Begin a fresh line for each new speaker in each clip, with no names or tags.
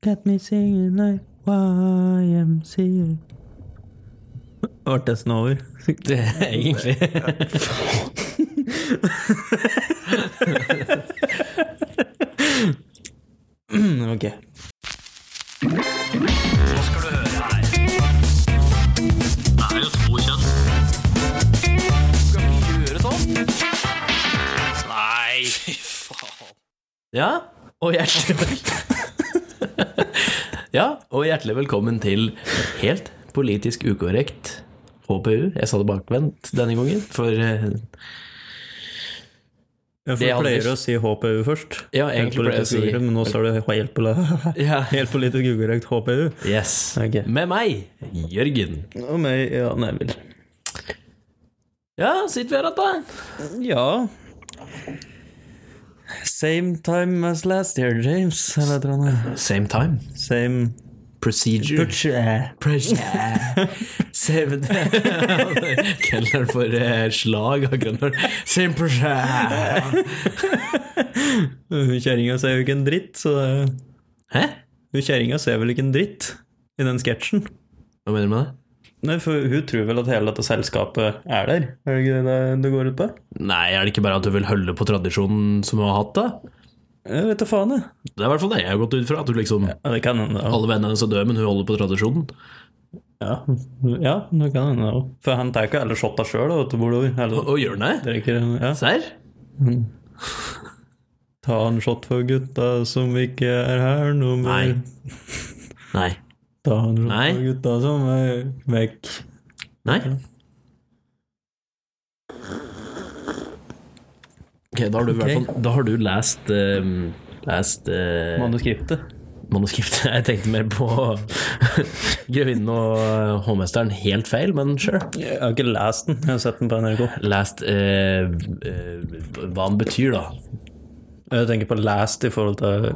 Got me singing like YMCA. Ble testen over?
Det er egentlig Ok.
sånn? Nei, fy faen.
Ja, og hjertelig Ja, og hjertelig velkommen til Helt politisk ukorrekt HPU. Jeg sa det bakvendt denne gangen, for eh,
Ja, for
Det
du
er
pleier
aldri-
å si HPU først.
Ja,
Helt
egentlig pleier jeg å
politisk
si-
ukorrekt, Men nå sa du helt, poli-
Ja.
helt politisk ukorrekt HPU.
Yes.
Ok.
Med meg, Jørgen.
Og meg, ja, Neville.
Ja, sitter vi her igjen, da?
Ja Same time as last year, James. Eller et eller annet.
Same time.
Same
Procedure.
Butcher.
Pressure. Same Kelner for eh, slag av Grønland. Same pressure.
Hun kjerringa ser jo ikke en dritt, så det-
Hæ?
Hun kjerringa ser vel ikke en dritt i den sketsjen?
Hva mener du med det?
Nei, for hun tror vel at hele dette selskapet er der? Er det ikke det det går ut på?
Nei, er det ikke bare at du vil holde på tradisjonen som du har hatt, da?
Jeg vet da faen, jeg.
Det er i hvert fall det jeg har gått ut fra. At du liksom
Ja, det kan hende. da.
Alle vennene hennes er døde, men hun holder på tradisjonen.
Ja, ja det kan hende. da. For han tar ikke alle shotta sjøl, vet du, bordover. Eller
Og og gjør hun det?
drikker ja.
Serr?
Ta en shot for gutta som ikke er her nå mer.
Nei. Nei.
Ta en shot
Nei.
for gutta som er vekk.
Nei. Ok, da har du, i hvert fall- da har du lest, ehm, lest eh,
Manuskriptet.
manuskriptet. Jeg tenkte mer på Grevinnen og eh, hovmesteren helt feil, men sure.
Jeg har ikke lest den, jeg har sett den på NRK.
Lest eh, eh, hva han betyr, da.
Jeg tenker på last i forhold til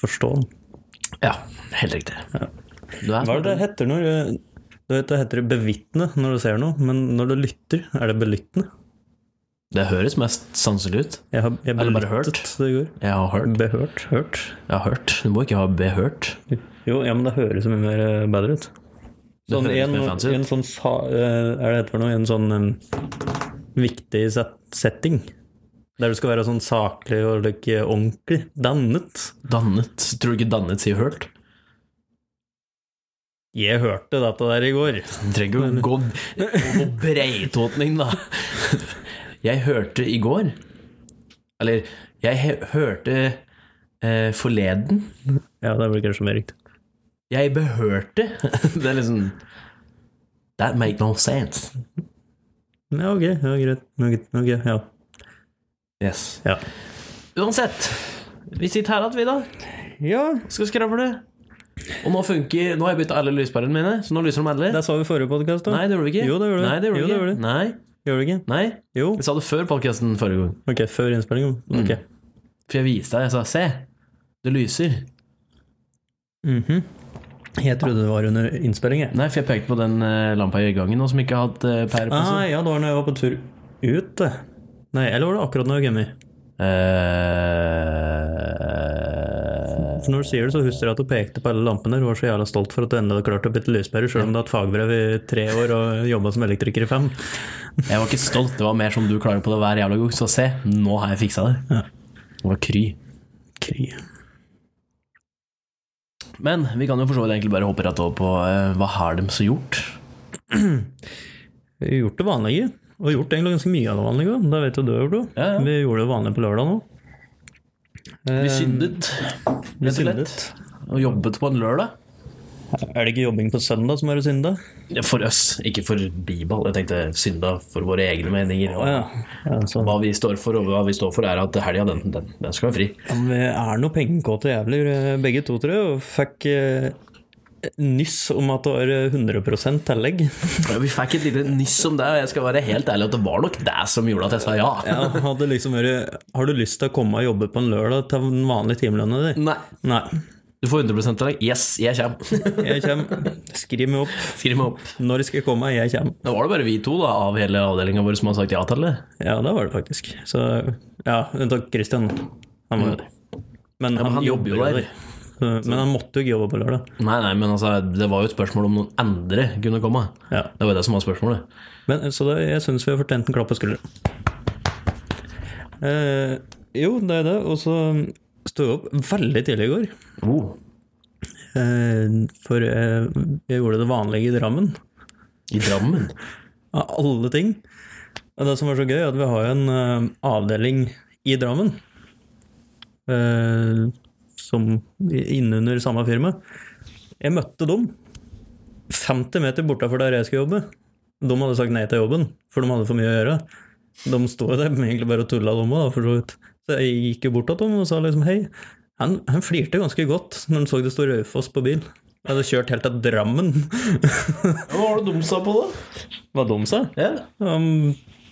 forstå den.
Ja, helt riktig. Du er
Hva er det det heter når du du vet, Det heter bevitne når du ser noe, men når du lytter, er det belyttende?
Det høres mest sanselig ut.
Jeg har jeg
Eller bare
belyttet
hørt.
det i går.
Jeg har hørt.
Behørt. Hørt.
Jeg har hørt. Du må ikke ha behørt.
Jo, ja, men det høres mye mer eh, bedre ut. Sånn,
høres
en,
mer fancy ut.
en sånn sa, eh, Er det heter for noe? En sånn eh, viktig set setting. Der du skal være sånn saklig og like, ordentlig dannet.
Dannet. Tror du ikke dannet sier hørt?
Jeg hørte dette der i går.
Du trenger jo å gå på breitåtning, da. Jeg hørte i går Eller, jeg he hørte eh, forleden.
Ja, det blir kanskje mer riktig.
Jeg behørte. Det er liksom That make no sense.
Ja, ok, ja, greit. Ok, ok, ja.
Yes.
Ja.
Uansett. Vi sitter her igjen, vi, da.
ja,
Skal skravle. Og nå funker Nå har jeg bytta alle lyspærene mine, så nå lyser de alle.
det sa vi i forrige podkast òg.
Nei, det gjorde vi ikke.
Jo, det gjorde vi.
Nei, det gjorde
Jo,
vi
det
ikke.
gjorde vi.
Nei,
Gjør du ikke?
nei.
Jo.
Vi sa det før podkasten forrige gang.
Ok, før innspillinga. Ok.
For jeg viste deg, jeg sa 'se, det lyser'.
Jeg trodde det var under innspilling, jeg.
Nei, for jeg pekte på den eh, lampa i gangen nå som ikke har hatt eh, pære på
Ah,
seg.
ja, det var når jeg var på tur ut, det. Nei, eller var det akkurat når jeg var hjemme?
Eh,
For når du sier det, så husker jeg at du pekte på alle lampene. Du var så jævla stolt for at du endelig hadde klart å bytte lyspærer, sjøl om du har hatt fagbrev i tre år og jobba som elektriker i fem.
jeg var ikke stolt, det var mer som du klarer på det hver jævla gang. Så se, nå har jeg fiksa det.
Ja.
Det var kry.
Krig.
Men vi kan jo for så vidt egentlig bare hoppe rett over på eh, hva har de så gjort?
Vi har gjort det vanlige, og gjort egentlig ganske mye av det vanlige. også. Det vet jo du, Bro.
Ja, ja.
Vi gjorde det vanlige på lørdag nå.
Vi syndet,
Vi
rett og slett.
syndet.
Og jobbet på en lørdag.
Er det ikke jobbing på søndag som er å synde?
Ja, For oss, ikke for Bibel. Jeg tenkte synda for våre egne meninger. Og
Ja. ja så.
Hva vi står for, og hva vi står for, er at helga, den, den, den skal være fri.
Ja, men Vi er noe pengekåte jævler, eh, begge to, tror jeg. Og fikk eh, nyss om at det var eh, 100 tillegg.
Ja, Vi fikk et lite nyss om det, og jeg skal være helt ærlig at det var nok det som gjorde at jeg sa ja.
Ja, hadde liksom vært, har du lyst til å komme og jobbe på en lørdag til den vanlige timelønna di?
Nei.
Nei.
Du får 100 av deg. Yes, jeg kommer.
Jeg kommer. Skriv meg opp.
Skriv meg opp.
Når skal jeg komme? Jeg kommer.
Da var det bare vi to da, av hele avdelinga vår som har sagt ja til det.
Ja, det var det faktisk. Så Mm. ja, unntatt Christian. Han var jo der. Men
men
han,
han
jobber jo der. Så, men han måtte jo ikke jobbe på lørdag.
Nei, nei, men altså, det var jo et spørsmål om noen andre kunne komme.
Ja.
Det var jo det som var spørsmålet.
Men, eh, så det, jeg syns vi har fortjent en klapp på skulderen. Eh, jo, det er det. Og så sto jeg opp veldig tidlig i går.
Oh.
Eh, for eh, jeg gjorde det vanlige i Drammen,
I Drammen.
av alle ting. Og det som var så gøy, er at vi har jo en eh, avdeling i Drammen. Eh, som innunder samme firma. Jeg møtte dem 50 meter bortafor der jeg skulle jobbe. De hadde sagt nei til jobben, for de hadde for mye å gjøre. De sto jo der men egentlig bare og tulla, dem òg, for så vidt. Så jeg gikk jo bort til dem og sa liksom hei. Han, han flirte ganske godt når han så det sto Raufoss på bil. Jeg hadde kjørt helt til Drammen.
Hva var det de sa på, da?
Hva de sa?
Ja.
Han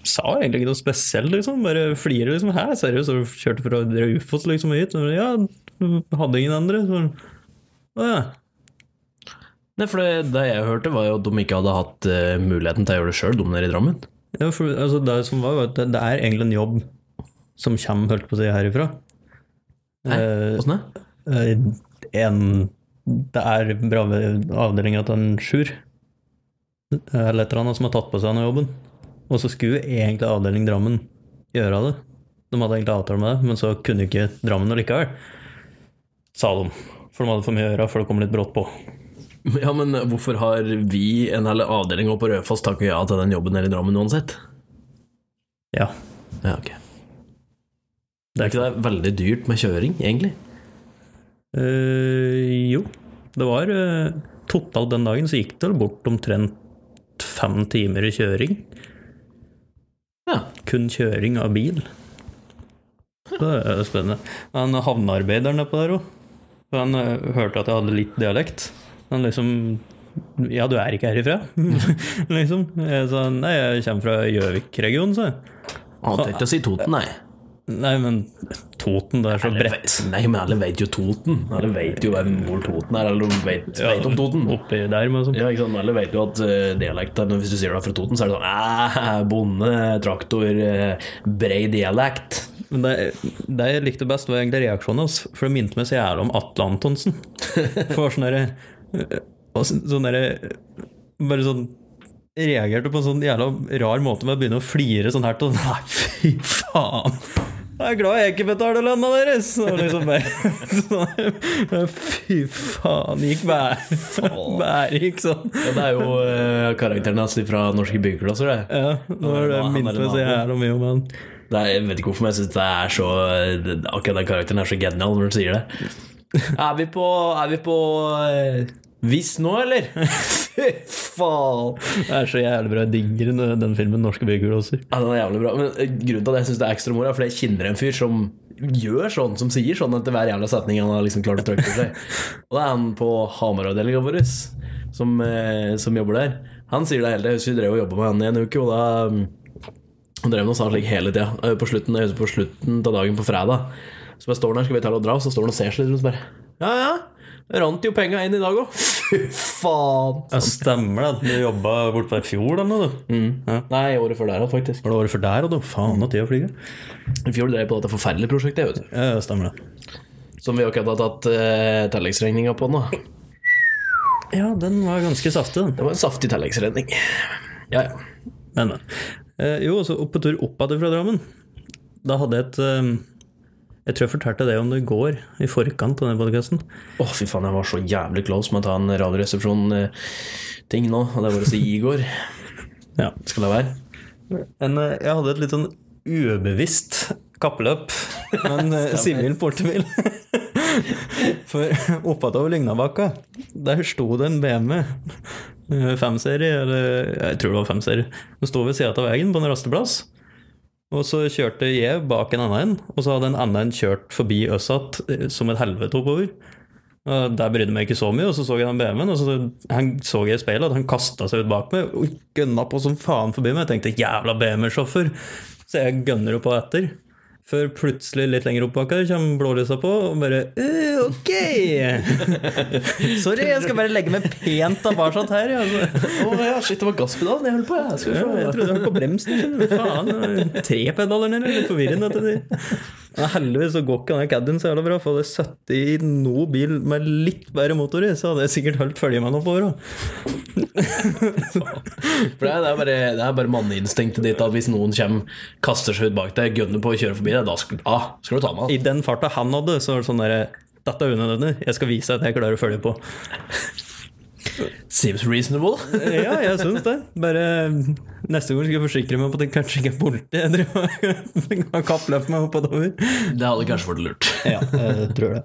sa egentlig ikke noe spesielt, liksom. Bare flirer, liksom. Hæ, seriøst, har du kjørt fra Raufoss liksom hit? Og Ja, hadde ingen andre. Så, å ja.
Nei, for det, det jeg hørte, var jo at de ikke hadde hatt eh, muligheten til å gjøre det sjøl, de nede i Drammen.
ja for, altså, det som var, var at det, det er egentlig en jobb som kommer, holdt på å si, herifra.
Hæ?
Eh,
Åssen det?
eh, en Det er bra ved avdelinga til en sjur. Eller et eller annet som har tatt på seg noe jobben. Og så skulle egentlig avdeling Drammen gjøre det. De hadde egentlig avtale med det, men så kunne ikke Drammen likevel. Sa de. For de hadde for mye å gjøre, for det kom litt brått på.
Ja, men eh, hvorfor har vi en hel avdeling oppe på Rødfoss takket ja til den jobben nede i Drammen uansett?
Ja.
Ja, ok.
Det
Er ikke det veldig dyrt med kjøring, egentlig?
Eh, jo, det var eh, totalt den dagen så gikk det vel bort omtrent fem timer i kjøring.
Ja.
Kun kjøring av bil. Det er jo spennende. Han havnearbeideren nedpå der òg. Han eh, hørte at jeg hadde litt dialekt. Han liksom Ja, du er ikke herifra? liksom. Jeg sa nei, jeg kommer fra Gjøvik-regionen, sa jeg.
Han tenkte å si Toten, nei.
Nei, men Toten, det er så bredt.
Nei, men alle vet jo Toten. Alle vet jo hvem- hvor Toten er, eller de vet, vet om Toten.
Oppi der, men sånn.
Ja, ikke sant? Alle vet jo at eh, dialekt er- Hvis du sier det er fra Toten, så er det sånn "Æ, Bonde, traktor, eh, brei dialekt.
Men det, det jeg likte best, var egentlig reaksjonen hans. For det minte meg så jævlig om Atle Antonsen. For sånn derre og så- Sånn derre Bare sånn Reagerte på en sånn jævla rar måte med å begynne å flire sånn her til Nei, fy faen! Jeg er glad jeg ikke betaler lønna deres! Og liksom bare sånn, Fy faen, gikk bæ- Bærik sånn.
Ja, det er jo eh, karakteren hans fra norske byggeklasser, det.
Ja, nå er det
Han
minte
eller
meg så jævla mye om han.
Det er, jeg vet ikke hvorfor, men jeg synes det er så eh, Akkurat den karakteren er så genial når du sier det. Er vi på Er vi på eh, Viss nå, eller? Fy faen!
Det er så jævlig bra. Jeg digger den- den filmen 'Norske byggelåser'.
Ja, den er jævlig bra. Men eh, grunnen til at jeg syns det er ekstra moro, er fordi jeg kjenner en fyr som gjør sånn, som sier sånn etter hver jævla setning han har liksom klart å trykke på seg. Og det er han på Hamar-avdelinga vår som, eh, som jobber der. Han sier det hele tida. Jeg husker vi drev og jobba med han i en uke, og da mm, Han drev med noe sånt slik hele tida. Eh, På slutten jeg husker på slutten av dagen på fredag Så bare står han her, skal vi ta og dra, og så står han og ser seg litt rundt og så bare Ja, ja. det Rant jo penga inn i dag òg. Fy faen.
Ja, stemmer det. at Du jobba borte på i fjor, da, nå, du.
Nei, året før der òg, faktisk.
Var det året før der, og du? Faen, at tida flyr.
I fjor drev jeg på dette forferdelige prosjektet. Jeg vet du.
Ja, ja, stemmer det.
Som vi akkurat har tatt uh, tilleggsregninga på nå. Det
Ja, den var ganske saftig, den.
var en saftig tilleggsregning. Ja, ja.
Men, men. Eh, jo, så opp på tur opp igjen fra Drammen. Da hadde jeg et eh, Jeg tror jeg fortalte deg om det i går, i forkant av den podkasten.
Å, fy faen, jeg var så jævlig close med å ta en Radioresepsjon-ting nå. Og det var å si Igor.
Ja.
Skal det være?
En, eh, jeg hadde et litt sånn ubevisst kappløp med en eh, sivil portebil. For oppover Lygnabakka, der sto det en BMW eh, 5-serie, eller jeg tror det var 5-serie, som sto ved sida av veien på en rasteplass. Og så kjørte jeg bak en annen en, og så hadde en annen en kjørt forbi oss igjen eh, som et helvete oppover. Og Der brydde jeg meg ikke så mye, og så så jeg den BMW-en, og så han så jeg i speilet at han kasta seg ut bak meg og gønna på som faen forbi meg. Jeg tenkte 'jævla BMW-sjåfør', så jeg gønner jo på etter. Før plutselig, litt lenger opp bak her, kommer blålysa på, og bare «Eh, Ok! Sorry, jeg skal bare legge meg pent tilbake her. jeg, Altså.
Å ja, shit, det var gasspedalen jeg holdt på, jeg. Skal vi
Ja,
se.
Jeg trodde jeg var på bremsen. skjønner du. Faen. det var Tre pedaler ned, litt forvirrende. dette. Men heldigvis så går ikke denne Caddien så jævla bra, for hadde jeg satt i noe bil med litt bedre motor i, så hadde jeg sikkert holdt følge med noen på år. da.
For det er- det er bare, det er bare manneinstinktet ditt at hvis noen kommer, kaster seg ut bak deg, gønner på og kjører forbi deg, da skal, ah, skal du ta med han.
I den farta han hadde, så var det sånn derre Dette er unødvendig, jeg skal vise at jeg klarer å følge på.
Seems reasonable.
Ja, jeg syns det. Bare neste gang skal jeg forsikre meg på at det kanskje ikke er politi jeg driver og kappløper meg oppover.
Det hadde kanskje vært lurt.
Ja, jeg tror det.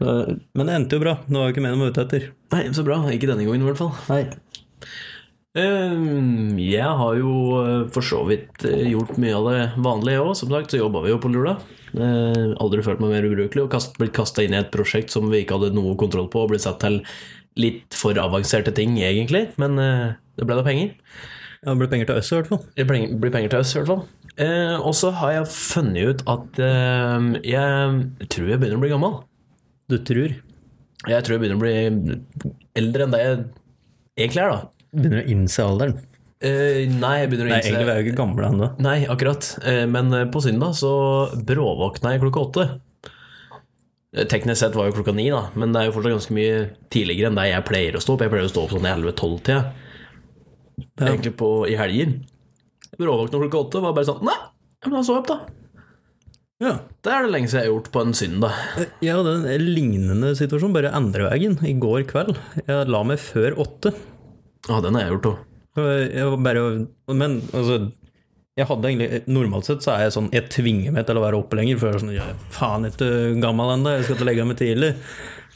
Så- Men det endte jo bra. Det var jo ikke mer de var ute etter.
Nei, så bra. Ikke denne gangen, i hvert fall.
Nei.
Ehm, jeg har jo eh, for så vidt eh, gjort mye av det vanlige òg. Som sagt så jobba vi jo på lula. Eh, aldri følt meg mer ubrukelig og kast, blitt kasta inn i et prosjekt som vi ikke hadde noe kontroll på, og blitt satt til litt for avanserte ting, egentlig. Men eh, det ble da penger.
Det ble penger til oss i hvert fall.
Det blir blir penger til oss, i hvert fall. Eh, og så har jeg funnet ut at eh, jeg tror jeg begynner å bli gammel.
Du tror.
Jeg tror jeg begynner å bli eldre enn det jeg egentlig er, da.
Begynner å innse alderen.
Eh, nei, jeg begynner å
Nei,
innse
egentlig er jeg jo ikke gammel ennå.
Nei, akkurat. Eh, Men eh, på søndag så bråvåkna jeg klokka åtte. Eh, Teknisk sett var jo klokka ni, da, men det er jo fortsatt ganske mye tidligere enn det jeg pleier å stå opp. Jeg pleier å stå opp sånn i 11-12-tida, egentlig på, i helger. Bråvåkna klokka åtte var bare sånn Nei, ja, men da så jeg opp, da.
Ja.
Det er det lenge siden jeg har gjort på en søndag.
Jeg hadde en lignende situasjon, bare andre veien, i går kveld. Jeg la meg før åtte.
Ja, Ah, den har jeg gjort òg.
Og Jeg var bare, men altså jeg hadde egentlig, Normalt sett så er jeg sånn Jeg tvinger meg til å være oppe lenger, for jeg er sånn Jeg er faen ikke gammel ennå, jeg skal til å legge meg tidlig.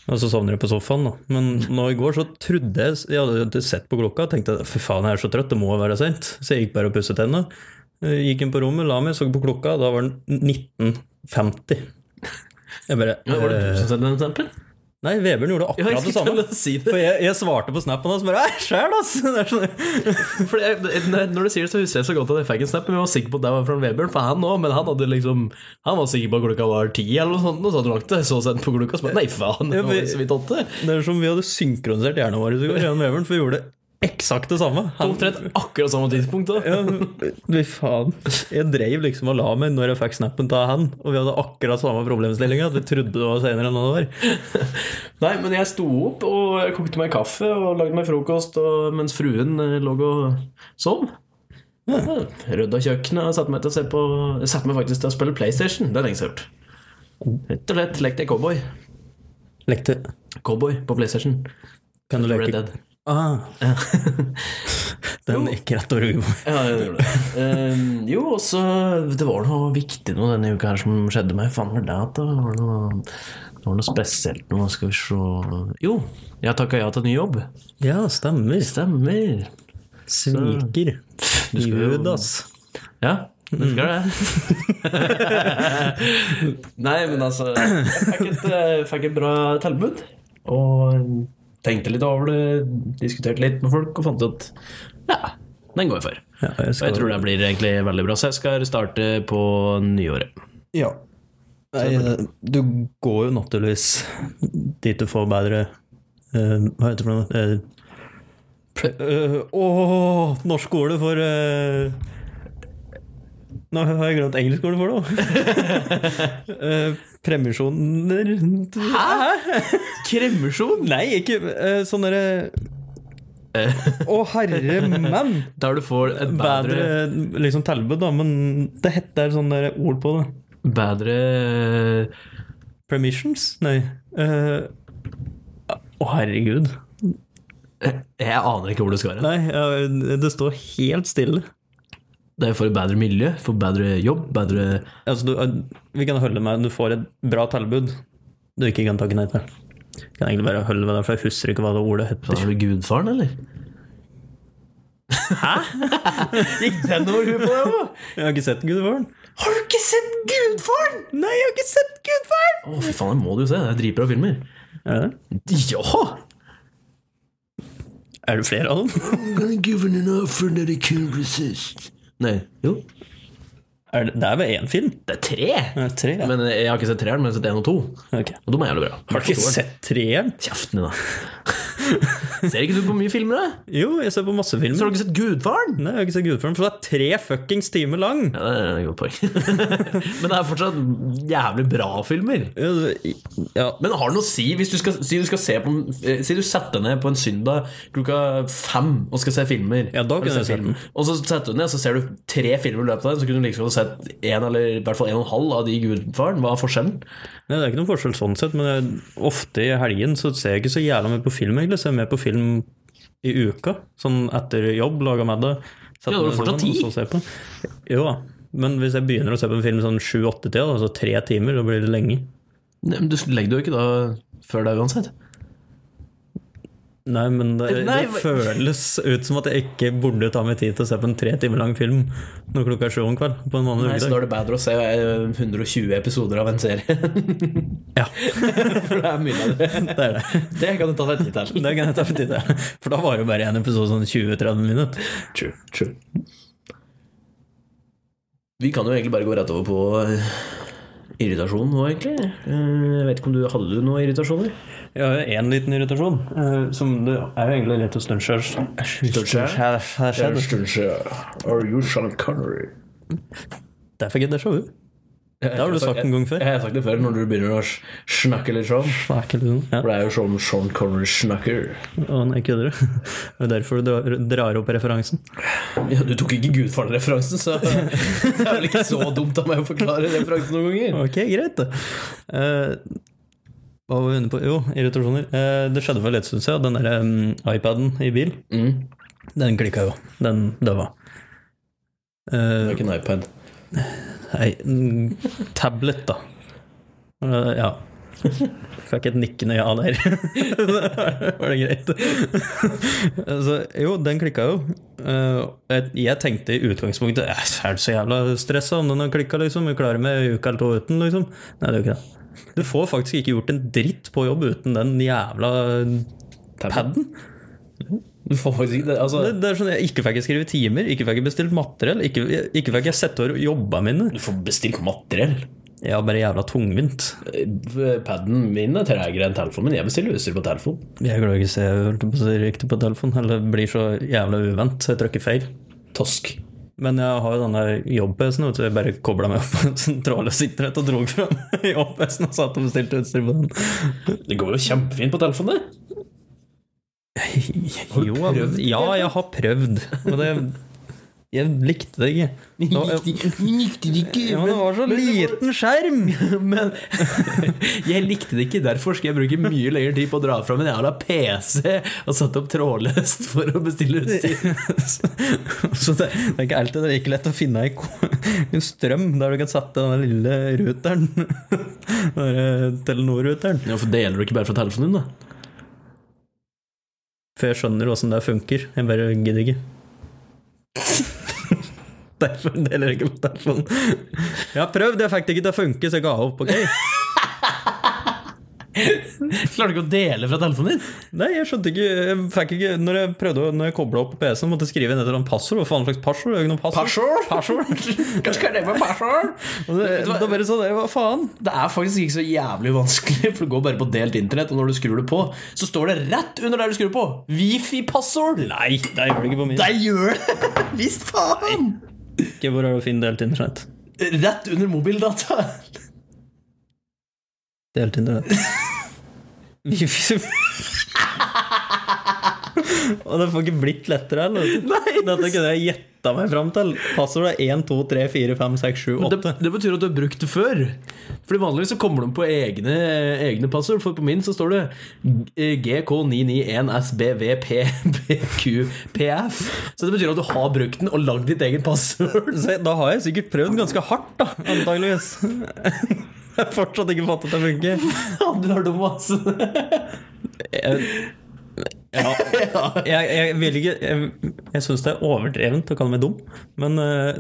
Og så sovner jeg på sofaen, da. Men nå i går så trodde jeg Jeg hadde ikke sett på klokka og tenkte fy faen, jeg er så trøtt, det må være sent. Så jeg gikk bare og pusset tenna. Eh, Gikk inn på rommet, la meg, så på klokka, da var den 19.50. Jeg bare
Ja, var det
eh,
du som sendte den stempen?
Nei, Vebjørn gjorde
Ja,
akkurat
jeg
det
skulle
samme.
til å si det.
For jeg, jeg svarte på snappen hans bare Æ, sjæl, ass! Det er sånn,
For jeg, når når du sier det, så husker jeg så godt at jeg fikk en snap, men jeg var sikker på at det var fra Vebjørn, for han òg, men han hadde liksom Han var sikker på at klokka var ti eller noe sånt, og så hadde han lagt det, så sent på klokka, og så bare Nei, faen, det
Ja,
var
for-
så vidt åtte.
Det er som vi hadde synkronisert hjernen vår i går, Jan Veveren, for vi gjorde eksakt det samme. Han,
Omtrent akkurat samme tidspunkt, da.
ja, fy faen. Jeg dreiv liksom og la meg når jeg fikk snappen av han, og vi hadde akkurat samme problemstillinga. Vi trodde det var senere enn det var.
Nei, men jeg sto opp og jeg kokte meg kaffe og lagde meg frokost og, mens fruen eh, lå og sov. Rydda kjøkkenet og satte meg til å se på Jeg satte meg faktisk til å spille PlayStation. Det er lenge siden jeg har
Oh.
gjort. Rett og slett lekte jeg cowboy.
Lekte
Cowboy på PlayStation.
Kan du
Red
leke
Dead.
ah, Den gikk rett over huet på meg.
Ja, jeg gjorde det. Ehm, jo, og så Det var noe viktig nå denne uka her som skjedde meg. Faen var det at det var noe, det var noe spesielt nå. Skal vi se Jo, jeg takka ja til ny jobb.
Ja, stemmer.
Stemmer.
Sviker. Judas.
Ja, det skal det. Nei, men altså Jeg fikk et, eh, fikk et bra tilbud. Og tenkte litt over det, diskuterte litt med folk og fant ut Ja, den går jeg for.
Ja, jeg
Og jeg tror det blir egentlig veldig bra, så jeg skal starte på nyåret.
Ja. Nei, eh, du går jo naturligvis dit du får bedre eh, Hva heter det for noe? Eh, pl- eh, Åh, norsk ord for eh, Nå har jeg glemt engelsk ord for Eh, det òg. Premisjoner Hæ?
Kremisjon?
Nei, ikke eh, sånn derre Å, herre mann!
Der du får et bedre,
Eh. Bedre liksom tilbud, da, men det heter sånn der ord på det.
bedre
Permissions? Nei. Eh, Å, herregud.
Jeg aner ikke hvor det skal hen.
Nei, ja, det står helt stille.
Det er for et bedre miljø, for bedre jobb, bedre
Altså, du, vi kan holde med du får et bra tilbud du ikke kan takke nei til. Jeg kan egentlig bare holde med det, for jeg husker ikke hva det ordet
Så
heter.
er det gudfaren, eller? Hæ? Gikk den over huet på deg òg?
Jeg har ikke sett Gudfaren.
Har du ikke sett Gudfaren?
Nei, jeg har ikke sett Gudfaren!
Å, fy faen, det må du jo se. Det er dritbra filmer.
Er det det?
Ja!
Er det flere av dem?
Nei, jo.
Er det, det er bare én film?
Det er tre.
Det er tre, ja.
Men jeg har ikke sett treeren, men jeg har sett én og to.
Ok.
Og de er jævlig bra.
Har du ikke sett treeren?
Kjeften din, da. Ser ikke du på mye filmer, da?
Jo, jeg ser på masse
Så har
filmer.
du ikke sett Gudfaren?
Nei, jeg har ikke sett Gudfaren, for det er tre fuckings timer lang.
Ja, det er et godt poeng. Men det er fortsatt jævlig bra filmer.
Ja, det- Ja,
Men har det noe å si hvis du skal, si du skal se på en- eh, Si du setter deg ned på en søndag klokka fem og skal se filmer.
Ja, da
Eller
kunne
se
jeg sett
film. Og så setter du deg ned, så ser du tre filmer i løpet av den, så kunne du like godt sett en eller i hvert fall en og en halv av de i Gudfaren. Hva er forskjellen?
Nei, Det er ikke noen forskjell sånn sett, men jeg, ofte i helgen så ser jeg ikke så jævla mye på film. egentlig, så Jeg ser mer på film i uka, sånn etter jobb, laga middag. setter
Ja, da har du
meg
fortsatt
sammen,
tid.
og så ser jeg på den. Jo da, men hvis jeg begynner å se på en film sånn sju-åtte-tida, altså tre timer, da blir det lenge.
Nei, men Du legger det jo ikke da før deg uansett.
Nei, men det,
Nei,
det
men-
føles ut som at jeg ikke burde ta meg tid til å se på en tre timer lang film når klokka er sju om kveld på en vanlig
Nei, så da
ukedag.
er det bedre å se eh, 120 episoder av en serie.
Ja,
For det er mye av det.
det er det.
Det kan du ta deg tid til.
Det kan jeg ta for tid til. For da var det jo bare én episode sånn 20-30 minutter.
True, true. Vi kan jo egentlig bare gå rett over på eh, irritasjon nå, egentlig. Eh, Jeg vet ikke om du hadde du noen irritasjoner?
Jeg har jo én liten irritasjon, eh, som det er jo egentlig litt å stunche Der
stund siden. Are you Sean Connery?
fikk jeg déjà vu.
Det
har du sagt en gang før.
Jeg, har sagt det før, når du begynner å s- snakke litt sånn.
Snakker du sånn? Ja,
For det er jo sånn Sean Connery snakker.
å nei, kødder du? Det er derfor du drar- drar opp referansen.
Ja, du tok ikke Gudfaren-referansen, så det er vel ikke så dumt av meg å forklare referansen noen ganger.
Ok, greit, da. Eh, hva var vi inne på? Jo, irritasjoner. Eh, det skjedde for litt stund siden, den derre mm, iPaden i bil.
Mm.
Den klikka jo. Den døva.
Det
Uh,
er ikke en iPad.
nei, mm, tablet, da. Eh, ja. Fikk et nikkende ja der. Var det greit? Så, jo, den klikka jo. Eh, Jeg jeg tenkte i utgangspunktet "Æ, Er du så jævla stressa om den har klikka, liksom? Vi klarer med ei uke eller to uten, liksom. Nei, det er jo ikke det. Du får faktisk ikke gjort en dritt på jobb uten den jævla paden.
Du får faktisk ikke det. Altså,
Det, det er sånn, jeg ikke fikk jeg skrevet timer, ikke fikk jeg bestilt materiell, ikke, ikke fikk jeg sett over jobba mine.
du får bestilt materiell.
Jeg var bare jævla tungvint.
Paden min er tregere enn telefonen min. Jeg bestiller utstyr på telefon.
Jeg klarer ikke å se holdt jeg på å si, riktig på telefonen, eller blir så jævla uvent, så jeg trykker feil.
Tosk.
Men jeg har jo denne jobb-PC-en, vet du, jeg bare kobla meg opp på en sånn trådløs internett og dro fram jobb-PC-en og satt og bestilte utstyr på den.
Det går jo kjempefint på telefonen, det. Har du
Jo,
prøvd?
ja, jeg har prøvd, og det Jeg likte det ikke. Det var,
Likte det ikke,
ja, men det var så liten skjerm!
Men jeg likte det ikke, derfor skal jeg bruke mye lengre tid på å dra fram en jævla PC og sette opp trådløst for å bestille utstyr.
Så det, det er ikke alltid det er ikke lett å finne ei ko- en strøm der du kan sette den lille ruteren. Den der eh, Telenor-ruteren.
Ja, for Deler du ikke bare fra telefonen din, da?
For jeg skjønner åssen det funker. Jeg bare gidder ikke. Derfor deler jeg ikke på telefonen. Jeg har prøvd, jeg fikk det ikke til å funke, så jeg ga opp. ok?
Klarer du ikke å dele fra telefonen din?
Nei, jeg skjønte ikke, jeg fikk ikke Når jeg prøvde å- Når jeg kobla opp på PC-en, måtte jeg skrive inn et eller annet passord. Hva faen slags passord? Det er jo ikke noe passord.
Kanskje kan det være passord?
Og det,
Vet du hva?
da bare sånn, hva faen?
Det er faktisk ikke så jævlig vanskelig, for det går bare på delt internett, og når du skrur det på, så står det rett under der du skrur på. Wifi-passord!
Nei, det gjør det ikke på min.
Der gjør det! Visst faen!
Ikke hvor er det å finne delt internett?
Rett under mobildata.
Delt internett. Wifi Og det får ikke blitt lettere heller. Dette kunne jeg gjetta meg fram til. Passordet er 1, 2, 3, 4, 5, 6, 7,
Det,
8.
det betyr at du har brukt det før. Fordi vanligvis så kommer de på egne, egne passord, for på min så står det GK991SBVPBQPF. Så det betyr at du har brukt den og lagd ditt eget passord.
Så da har jeg sikkert prøvd ganske hardt, da. Antageligvis. Jeg har fortsatt ikke fattet at det funker.
Du er dum, ass.
Jeg, jeg, jeg vil ikke Jeg, jeg syns det er overdrevent å kalle meg dum, men eh,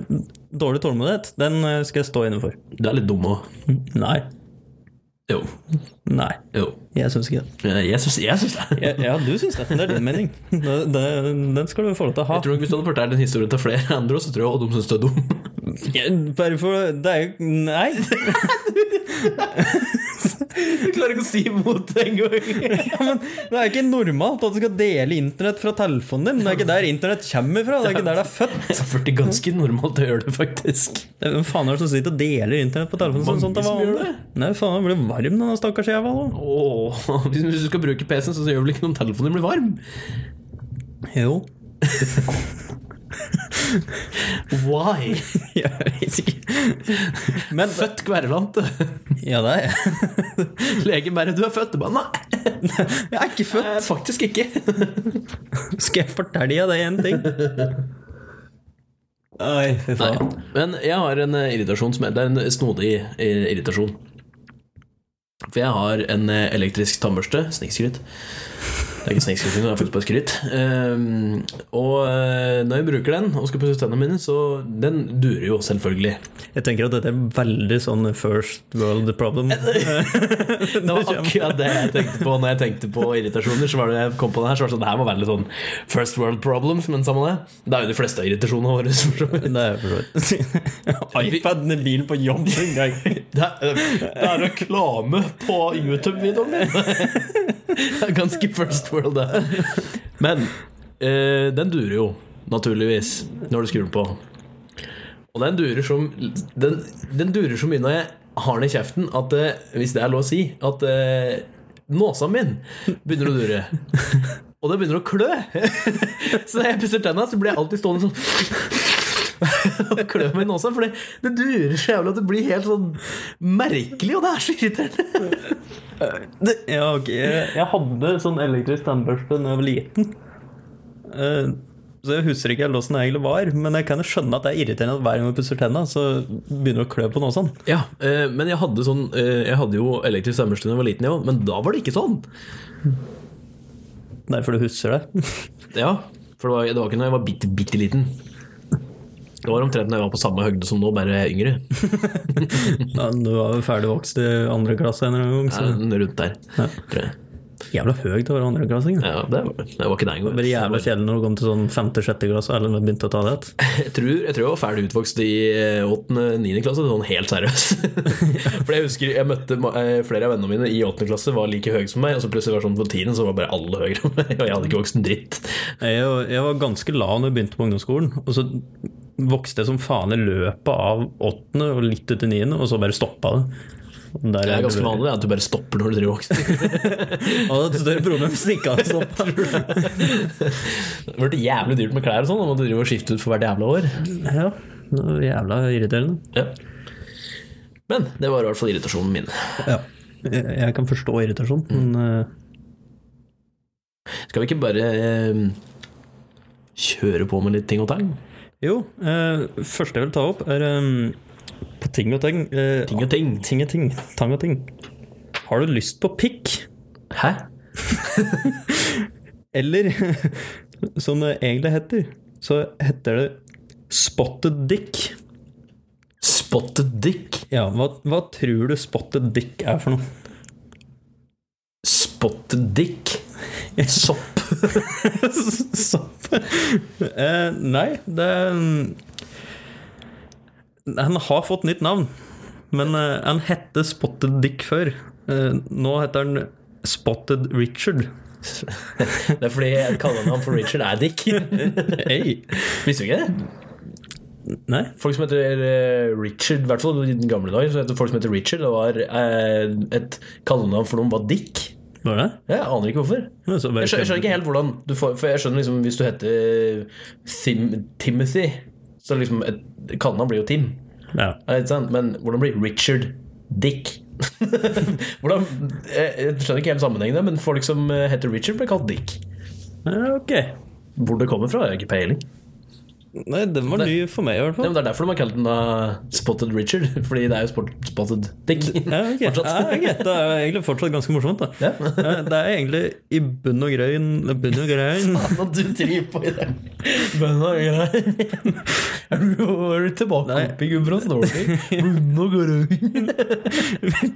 dårlig tålmodighet, den eh, skal jeg stå inne for.
Du er litt dum òg.
Nei.
Jo.
Nei.
jo.
Jeg syns ikke det.
Jeg syns, jeg syns det.
Ja, ja, du syns det. Det er din mening. Det, det, den skal du få lov til å ha.
Jeg tror nok Hvis du hadde fortalt den historien til flere andre, så tror jeg også de syns du er dum.
Bare for Det er jo Nei!
Du klarer ikke å si imot det engang.
Ja, men det er ikke normalt at du skal dele internett fra telefonen din. Det er ikke der internett kommer fra. Det er ikke der det er født.
Det er ganske normalt å gjøre det, faktisk.
Det er- Hvem faen er det som sitter og deler internett på telefonen? Sånn,
Mange
sånn,
som gjør
Nei, faen, jeg blir varm denne stakkars jævla. da.
Åh, hvis du skal bruke PC-en, så gjør vel ikke noe om telefonen blir varm?
Jo.
Why?
Jeg vet ikke. Men
Født kverulant.
Ja, det er jeg.
Legen bare 'Du er født'. Jeg Bare, Nei,
Jeg er ikke født.
eh, faktisk ikke.
Skal jeg fortelle deg det en ting? Oi, fy
Nei.
faen.
Men jeg har en eh, irritasjon som er, Det er en snodig eh, irritasjon. For jeg har en eh, elektrisk tannbørste. Snikskryt. Det er ikke snikskryt, det er faktisk bare skryt. Ehm, og eh, når jeg bruker den og skal pusse tennene mine, så den durer jo selvfølgelig.
Jeg tenker at dette er veldig sånn first world problem.
Det var akkurat det jeg tenkte på når jeg tenkte på irritasjoner. Så var det jeg kom på det her, så var det sånn, det her må være litt sånn first world problems, men samme det. Det er jo de fleste av irritasjonene våre. for så vidt.
Det er for så vidt. iPaden i bilen på jobb en gang.
Det er, det er reklame på YouTube-videoen min! Det er ganske first world, det. Men eh, den durer jo, naturligvis, når du skrur den på. Og den durer, som, den, den durer så mye når jeg har den i kjeften, at eh, hvis det er lov å si, at eh, nåsa min begynner å dure. Og det begynner å klø! Så når jeg pusser tenna, så blir jeg alltid stående sånn og klø meg i nåsa, for det durer så jævlig at det blir helt sånn merkelig, og det er så irriterende.
Det, ja, ok. Jeg jeg hadde sånn elektrisk tannbørste da jeg var liten. Eh, Så jeg husker ikke helt åssen det egentlig var, men jeg kan jo skjønne at det er irriterende at hver gang jeg pusser tenna, så begynner det å klø på noe sånn. sånt.
Ja, eh, men jeg hadde, sånn, eh, jeg hadde jo elektrisk tannbørste da jeg var liten, jeg òg, men da var det ikke sånn.
Derfor du husker det.
Ja, For det var, det var ikke når jeg var bitte, bitte liten. Det var omtrent når jeg var på samme høgde som nå, bare yngre.
Ja, du var jo ferdig vokst i andre klasse en eller annen
Eh,
gang,
Rundt der, tror jeg.
så jævla høyt å være andreklassing.
Ja, det var, det var ikke deg engang.
Bare jævla kjedelig når du kom til sånn femte-sjette klasse, eller når du begynte å ta det igjen.
Jeg tror, jeg tror jeg var ferdig utvokst i åttende-niende klasse, sånn helt seriøst. For jeg husker jeg møtte ma- eh, flere av vennene mine i åttende klasse, var like høye som meg, og så plutselig var det sånn på tiende, så var bare alle høyere enn meg, og jeg hadde ikke vokst en dritt.
Jeg, jeg var ganske lav når jeg begynte på ungdomsskolen, og så vokste jeg som faen i løpet av åttende og litt ut i niende, og så bare stoppa det. Der
Det
jeg
er ganske
burde-
vanlig at du bare stopper når du driver voksen.
Han hadde et større problem hvis han ikke sånn. hadde stoppet.
Det ble jævlig dyrt med klær og sånn, og måtte drive og skifte ut for hvert jævla år.
Ja, det var jævla irriterende.
Ja. Men det var i hvert fall irritasjonen min.
Jeg, jeg kan forstå irritasjon, men
Mm.
eh,
Skal vi ikke bare eh, kjøre på med litt ting og tang?
Jo, eh, første jeg vil ta opp, er eh, på ting og ting. eh,
Ting og ting.
ting og ting. Tang og ting. Har du lyst på pikk?
Hæ?
Eller som det egentlig heter, så heter det spotted dick.
Spotted dick?
Ja, hva, hva tror du spotted dick er for noe?
Spotted dick? Sopp?
Sopp? Eh, nei, det Han har fått nytt navn, men eh, han hette Spotted Dick før. Eh, nå heter han Spotted Richard.
Det er fordi jeg kaller ham for Richard er dick.
Hey.
Visste du ikke det?
Nei?
Folk som heter eh, Richard, i hvert fall i den gamle dager, så heter folk som heter Richard, det var eh, et kallenavn for noen var dick.
Var det?
Jeg aner ikke hvorfor.
Men så bare-
Jeg skjønner, jeg skjønner ikke helt hvordan du får, For jeg skjønner liksom hvis du heter Tim, Timothy, så liksom et kallenavn blir jo Tim.
Ja.
Ja, ikke sant? Men hvordan blir Richard Dick? hvordan, jeg, jeg skjønner ikke helt sammenhengen, der, men folk som eh, heter Richard, blir kalt Dick.
Eh, Ok.
Hvor det kommer fra, har jeg ikke peiling.
Nei, den var ny for meg, i hvert
Nei,
fall.
men Det er derfor de har kalt den da Spotted Richard, fordi det er jo spot, Spotted Dick.
Ja, ok. ja,
Fortsatt.
ok. Det er egentlig fortsatt ganske morsomt. da
Ja.
Eh, Det er egentlig i bunn og grønn bunn og grønn
Hva du driver på i dag? Men hva er det? Er du er du tilbake
Nei.
opp i Gudbrands Norge? Bunn og grunn.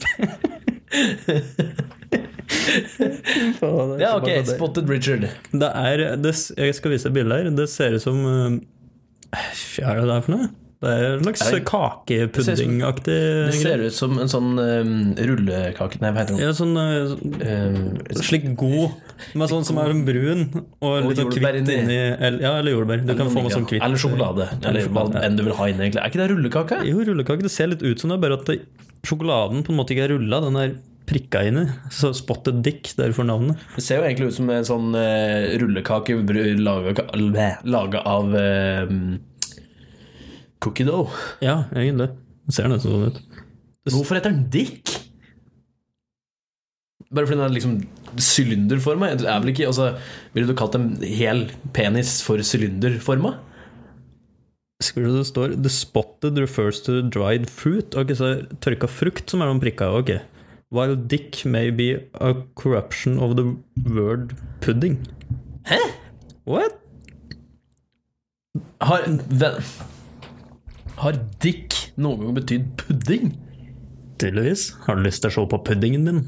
Ja, ok. Spotted Richard.
Det er det, s- Jeg skal vise deg bilder her. Det ser ut som eh, Hva er det der for noe? Det er en slags
Er det-
kakepuddingaktig
Det
greie.
ser ut som en sånn um, rullekake Nei, hva heter den?
Ja, sånn eh,
Um,
slik god, men sånn som er brun og litt sånn
jordbær
kvitt
inni.
inni eller- Ja, eller jordbær. Du kan få med
ja,
sånn kvitt
Eller sjokolade. Eller hva
sjokolade, ja.
enn du vil ha inn, egentlig. Er ikke det rullekake?
Jo, rullekake. Det ser litt ut som det, bare at det, sjokoladen på en måte ikke er rulla. Den er prikka inn i. Så Spotted Dick, derfor navnet.
Det ser jo egentlig ut som en sånn eh, rullekake laga av eh, cookie dough.
Ja, egentlig. Det ser nesten sånn ut.
Hvorfor heter den Dick? Bare fordi den er liksom sylinderforma? Det er vel ikke altså, Ville du kalt en hel penis for sylinderforma?
Skal du det står The spotted refers to dried fruit. Ok, så er tørka frukt som er noen prikka. Ok. While dick may be a corruption of the word pudding.
Hæ?
What?
Har ven, Har Dick noen gang betydd pudding?
Tydeligvis. Har du lyst til å se på puddingen min?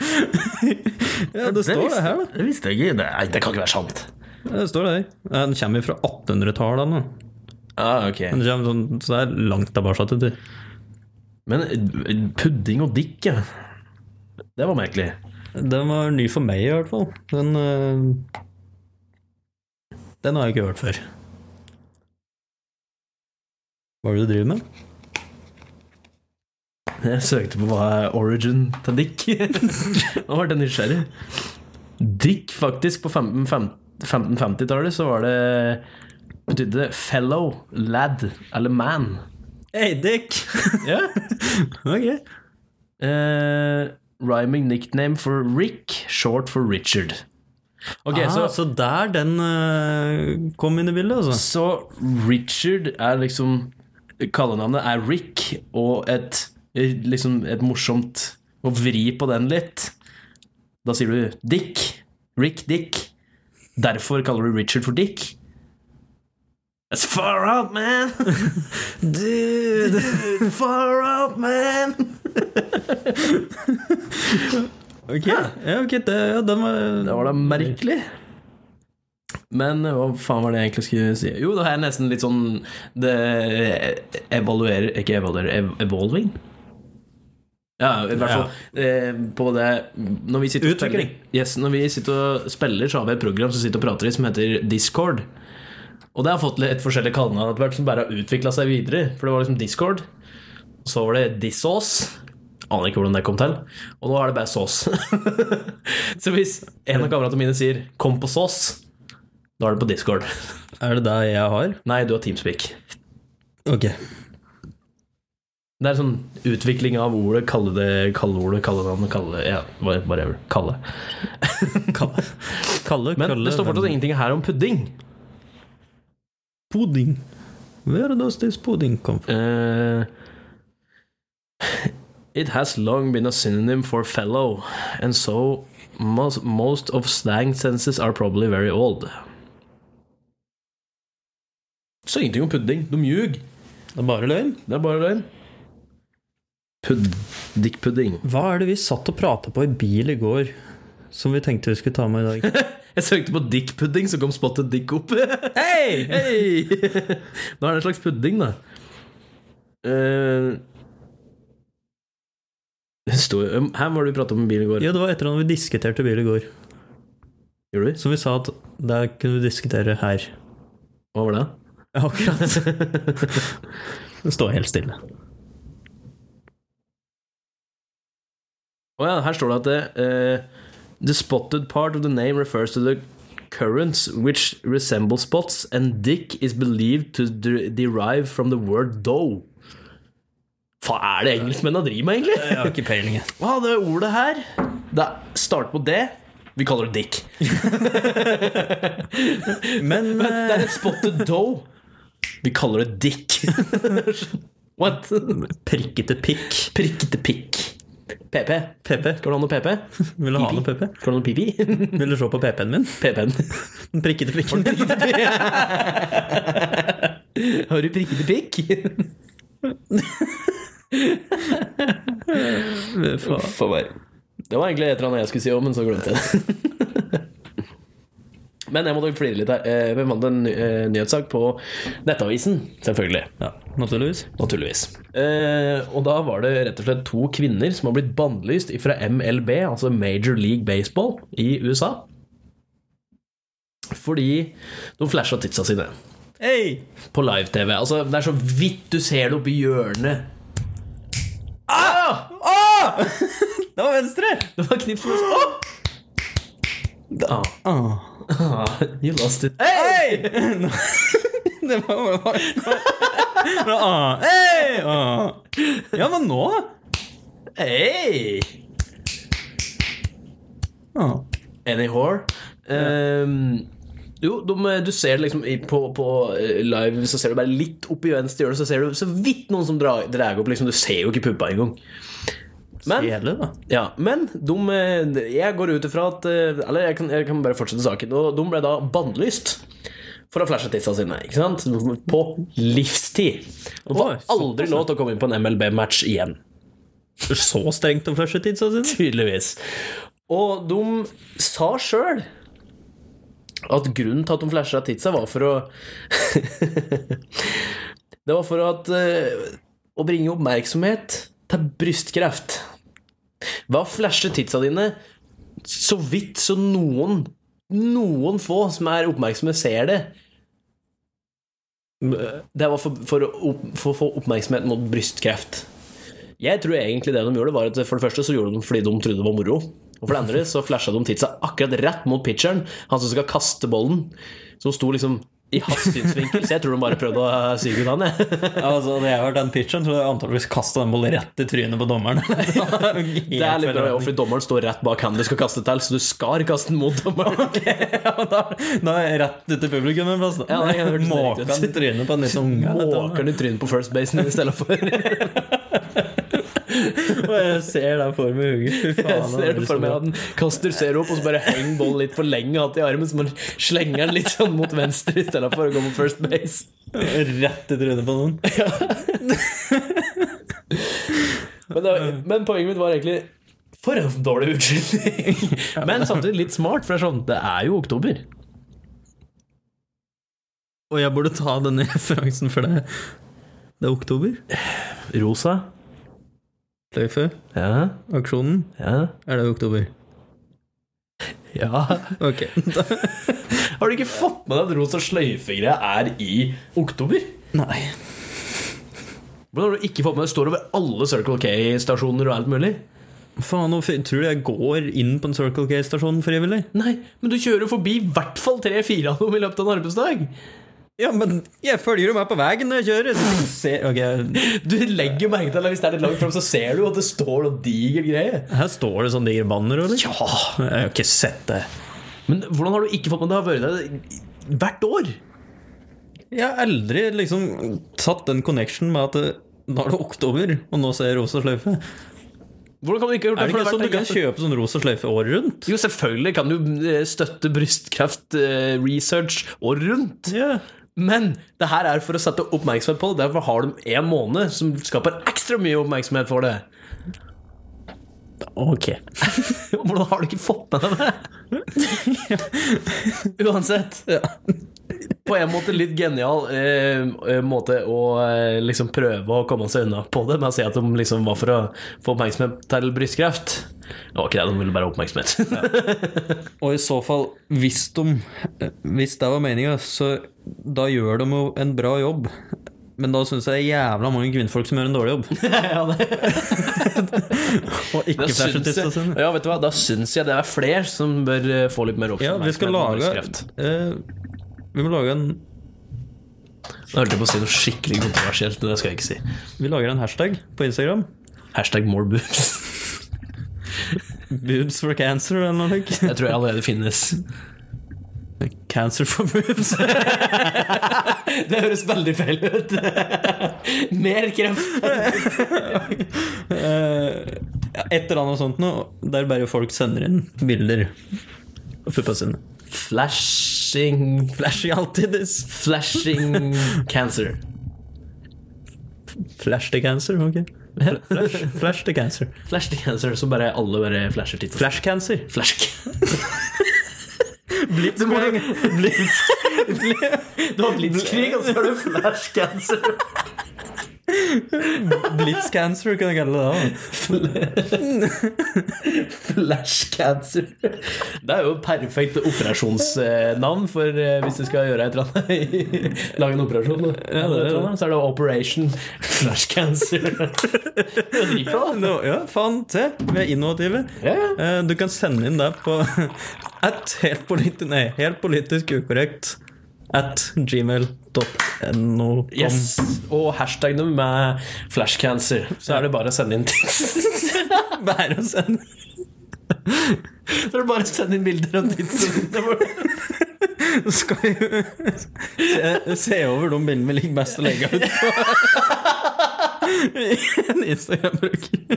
ja, det står det her, da.
Det visste jeg ikke. Nei, det kan ikke være sant.
Det står det her. Ja, Den kommer fra 1800-tallet. nå.
Ah, ok
Den kommer sånn- Så det er langt tilbake til det.
Men eh, pudding og Dick, ja. Det var merkelig.
Den var ny for meg, i hvert fall. Den eh, Den har jeg ikke hørt før. Hva er det du driver med?
Jeg søkte på hva er origin til Dick. Nå ble jeg nysgjerrig. Dick, faktisk, på 15 fem- 1550-tallet så var det Betydde det 'fellow lad' eller 'man'.
Hey, Dick!
Ja.
ok.
Eh, rhyming nickname for Rick, short for Richard. Ok,
Ah, så,
så,
så der den eh, kom inn i bildet, altså?
så Richard er liksom Kallenavnet er Rick, og et, liksom et morsomt Å vri på den litt. Da sier du Dick. Rick Dick. Derfor kaller du Richard for Dick. That's far out, man! Dude, far out, man!
Ok, ja, ok, det, ja, den var
Det var da merkelig. Men hva faen var det jeg egentlig skulle si? Jo, det her er nesten litt sånn Det evaluerer Ikke evaluerer, ev evolving? Ja, i hvert
Ja.
fall eh, på det Når vi sitter og
Utvikling.
spiller, yes, når vi sitter og spiller, så har vi et program som sitter og prater i, som heter Discord. Og det har fått litt forskjellige kallenavn etter hvert, som bare har utvikla seg videre. For det var liksom Discord, så var det Dissås. Aner ikke hvordan det kom til. Og nå er det bare sås. så hvis en av kameratene mine sier 'kom på sås', da er det på Discord.
Er det det jeg har?
Nei, du har Teamspeak.
Ok.
Det er sånn utvikling av ordet, kalle det kalleordet, kalle navnet, kalle Ja, whatever. Kalle.
Kalle, kalle
Men
kalle,
det står fortsatt ingenting her om pudding.
Pudding. Where does this pudding come from?
Eh, it has long been a synonym for fellow, and so most, most of slang senses are probably very old. Så ingenting om pudding. De ljug.
Det er bare løgn.
Det er bare løgn. Pud Dickpudding.
Hva er det vi satt og prata på i bil i går, som vi tenkte vi skulle ta med i dag?
Jeg søkte på dickpudding, så kom spottet dick opp. Hei! Nå er det en slags pudding, da. Eh, det står- um, her var det vi pratet om i bilen i går.
Ja, det var etter at vi diskuterte bil i går,
Gjorde vi?
som vi sa at det kunne vi diskutere her.
Hva var det?
Ja, akkurat. Det står helt stille.
Å ja, her står det at det, eh, The spotted part of the name refers to the currents which resemble spots, and dick is believed to de derive from the word dough. Hva er det engelskmennene driver med, egentlig?
Jeg har ikke peiling.
Hva er det ordet her? Da, start på det. Vi kaller det dick.
Men
Det er
eh,
et spotted dough. Vi kaller det dick. What?
eh, prikkete pikk.
Prikkete pikk. PP.
PP.
Skal du ha noe PP?
Vil du ha noe PP?
Skal du ha noe pipi?
Vil du se på PP-en min?
PP-en.
Den prikkete pikken.
Har du prikkete pikk?
Faen.
Det var egentlig et eller annet jeg skulle si òg, men så glemte jeg det. Men jeg måtte flire litt her. Eh, Vi fant en eh, nyhetssak på Nettavisen, selvfølgelig.
Ja, naturligvis.
Naturligvis. Eh, og da var det rett og slett to kvinner som har blitt bannlyst fra MLB, altså Major League Baseball, i USA. Fordi de flasha titsa sine
Hei!
på live-TV. Altså, det er så vidt du ser det oppi hjørnet. Ah!
Ah! Det var venstre!
Det var knips oh! ah. ah, You lost it.
Hei! Det var bare bare- Ah, Hei! Ah. Ja, men nå
Hey!
ah.
Any whore? Ehm, jo, de, du ser det liksom i- på, på eh, live Så ser du bare litt opp i venstre hjørne, så ser du så vidt noen som drar, drar opp. Liksom, du ser jo ikke puppa engang. Men,
Kjedelig, da.
ja, men de, eh, jeg går ut ifra at eh, Eller jeg kan, jeg kan bare fortsette saken. Og de ble da bannlyst for å flashe tissa sine. Ikke sant? På livstid. De
Oi,
får aldri lov til å komme inn på en MLB-match igjen.
Så strengt om flashetidsa si?
Tydeligvis. Og de sa sjøl at grunnen til at de flasha tidsa, var for å Det var for at eh, å bringe oppmerksomhet til brystkreft. Hva flasher tidsa dine så vidt så noen noen få som er oppmerksomme, ser det. Det var for, for, å opp- for å få oppmerksomhet mot brystkreft. Jeg tror egentlig det de gjorde var at For det første så gjorde de det fordi de trodde det var moro. Og for det andre så flasha de tidsa akkurat rett mot pitcheren, han som skal kaste bollen. Som sto liksom i hastighetsvinkel, så jeg tror de bare prøvde å syke ut han, jeg.
Altså, hadde jeg vært den pitcheren, så hadde jeg antakeligvis kasta den ballen rett i trynet på dommeren.
Det er litt bra, ja, fordi dommeren står rett bak han du skal kaste til, så du skal kaste den mot dommeren.
da, da er jeg rett ut til publikum en plass. da.
Ja, det kan hørtes
Måker
riktig ut.
den i trynet på en liten unge. vet du.
Måker den i trynet på first basen i stedet for.
Og jeg ser den for meg i huet. Fy faen,
Jeg ser det for meg at den kaster, ser opp, og så bare henger bollen litt for lenge hatt i armen, så man slenger den litt sånn mot venstre i stedet for å gå på first base.
Rett i trynet på noen.
Men, det- men poenget mitt var egentlig For en dårlig unnskyldning! Men samtidig litt smart, for det er sånn Det er jo oktober.
Og jeg burde ta denne referansen, for det Det er oktober.
Rosa.
Sløyfe-aksjonen.
Ja. Ja.
Er det i oktober?
ja.
Ok.
Har du ikke fått med deg at rosa sløyfe-greia er i oktober?
Nei.
Hvordan har du ikke fått med deg? Det står over alle Circle K-stasjoner og alt mulig.
Faen, nå f- tror du jeg går inn på en Circle K-stasjon frivillig?
Nei, men du kjører jo forbi i hvert fall tre-fire av dem i løpet av en arbeidsdag.
Ja, men jeg følger jo meg på veien når jeg kjører. så ser- ok,
Du legger jo merke til at hvis det er litt langt fram, så ser du jo at det står noe diger greie.
Her står det sånn diger banner, eller?
Ja,
Jeg har ikke sett det.
Men hvordan har du ikke fått med deg det? har vært der hvert år?
Jeg har aldri liksom satt den connection med at eh, nå er det oktober, og nå ser jeg rosa sløyfe.
Hvordan kan du ikke ha gjort
Er
det?
det
For
ikke
har
sånn du
vært
kan
der-
kjøpe sånn rosa sløyfe året rundt?
Jo, selvfølgelig kan du eh, støtte brystkreft-research og rundt.
Ja.
Men det her er for å sette oppmerksomhet på det. Derfor har de en måned som skaper ekstra mye oppmerksomhet for det.
Ok.
Hvordan har du ikke fått med deg det? Uansett. På en måte litt genial eh, eh, måte å eh, liksom prøve å komme seg unna på det med å si at de liksom var for å få oppmerksomhet til brystkreft. Det var ikke det, de ville bare ha oppmerksomhet.
Og i så fall, hvis de Hvis det var meninga, så da gjør de jo en bra jobb. Men da syns jeg det er jævla mange kvinnfolk som gjør en dårlig jobb.
ja, det,
Og ikke sånn.
Da syns
flashetidsa
jeg,
sine.
ja, vet du hva? Da syns jeg det er flere som bør eh, få litt mer
Ja,
oppmerksomhet.
vi skal
med
lage
brystkreft.
eh, Vi må lage en
Jeg holdt jeg på å si noe skikkelig kontroversielt, men det skal jeg ikke si.
Vi lager en hashtag på Instagram.
Hashtag more boobs.
Boobs for cancer eller noe slikt.
Jeg tror jeg allerede finnes.
Cancer for boobs.
Det høres veldig feil ut. mer kreft.
Eh, Et eller annet sånt noe. Der bare folk sender inn bilder av puppa sine.
Flashing
Flashy alltids.
Flashing cancer.
Flash to cancer, ok. Flash, flash to cancer.
Flash to cancer, så bare alle bare flasher titt.
Flash cancer.
Flash Blitzkrig. Du har blitzkrig, og så har du flash cancer.
Blitz cancer, kan jeg kalle det. da.
Flash cancer. Det er jo perfekt operasjonsnavn for eh, hvis du skal gjøre et eller annet. i- Lage en operasjon. da. Så er det Operation Flash Cancer. Det er dritbra, da.
Nå, ja, faen, se. Vi er innovative.
Ja, ja.
Eh, Du kan sende inn det på at helt, politi nei, helt politisk ukorrekt at gmail.no.
Yes. Og hashtagene med flash cancer. Så er det bare å sende inn ting.
Bare å sende
Så er det bare å sende inn bilder av tidsrommet.
Så skal vi se, se over de bildene vi liker best å legge ut på en Instagram-bruker.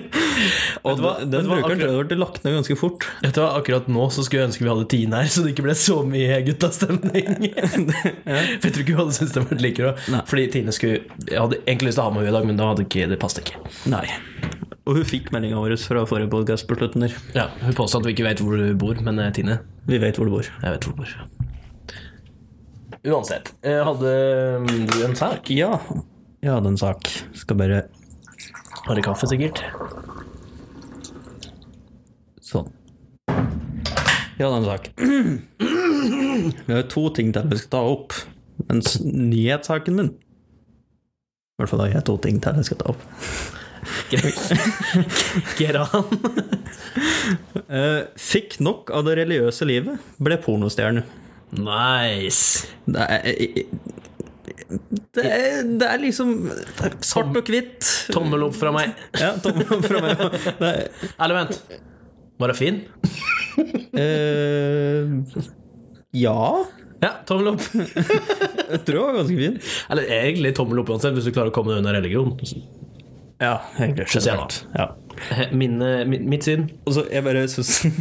Og
hva?
den
Vet du hva?
brukeren tror jeg ble lagt ned ganske fort.
Vet du hva, Akkurat nå så skulle jeg ønske vi hadde Tine her, så det ikke ble så mye guttastemning. For jeg tror ikke hun hadde syntes det var like bra.
Nei.
Fordi Tine skulle Jeg hadde egentlig lyst til å ha med henne i dag, men da hadde ikke, det passet ikke.
Nei. Og hun fikk meldinga vår fra forrige podcast på slutten der.
Ja, Hun påstod at vi ikke vet hvor du bor, men eh, Tine,
Vi vet hvor du bor.
jeg vet hvor du bor. Uansett. eh, Hadde mm, du en sak?
Ja. Jeg hadde en sak. Skal bare
Har du kaffe, sikkert?
Sånn. Ja, det er en sak. Vi har to ting til vi skal ta opp. Men s- nyhetssaken min I hvert fall har jeg to ting til jeg skal ta opp.
Geran.
Eh, fikk nok av det religiøse livet, ble pornostjerne.
Nice.
Det er det er, det er liksom det er svart og hvitt.
Tommel opp fra meg.
Ja, tommel opp fra meg. Det er,
Eller vent. Var det fin?
eh, ja,
Ja, tommel opp.
jeg tror det var ganske fin.
Eller egentlig tommel opp uansett, hvis du klarer å komme deg unna religion.
Ja, egentlig.
Synes jeg
generelt. Ja.
Min, eh, mi- mitt syn
Og så jeg bare synes I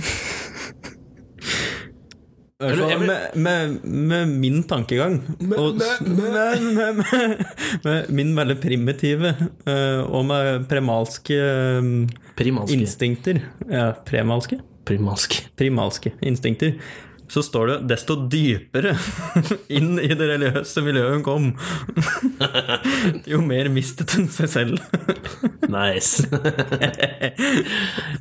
hvert
Eller, jeg
fall
vil-
med, med, med min tankegang og, med, med, med, med min veldig primitive eh, og med premalske eh,
Primalske.
instinkter ja, Premalske?
Primalske.
Primalske instinkter. Så står det 'desto dypere inn i det religiøse miljøet hun kom', jo mer mistet hun seg selv.
Nice.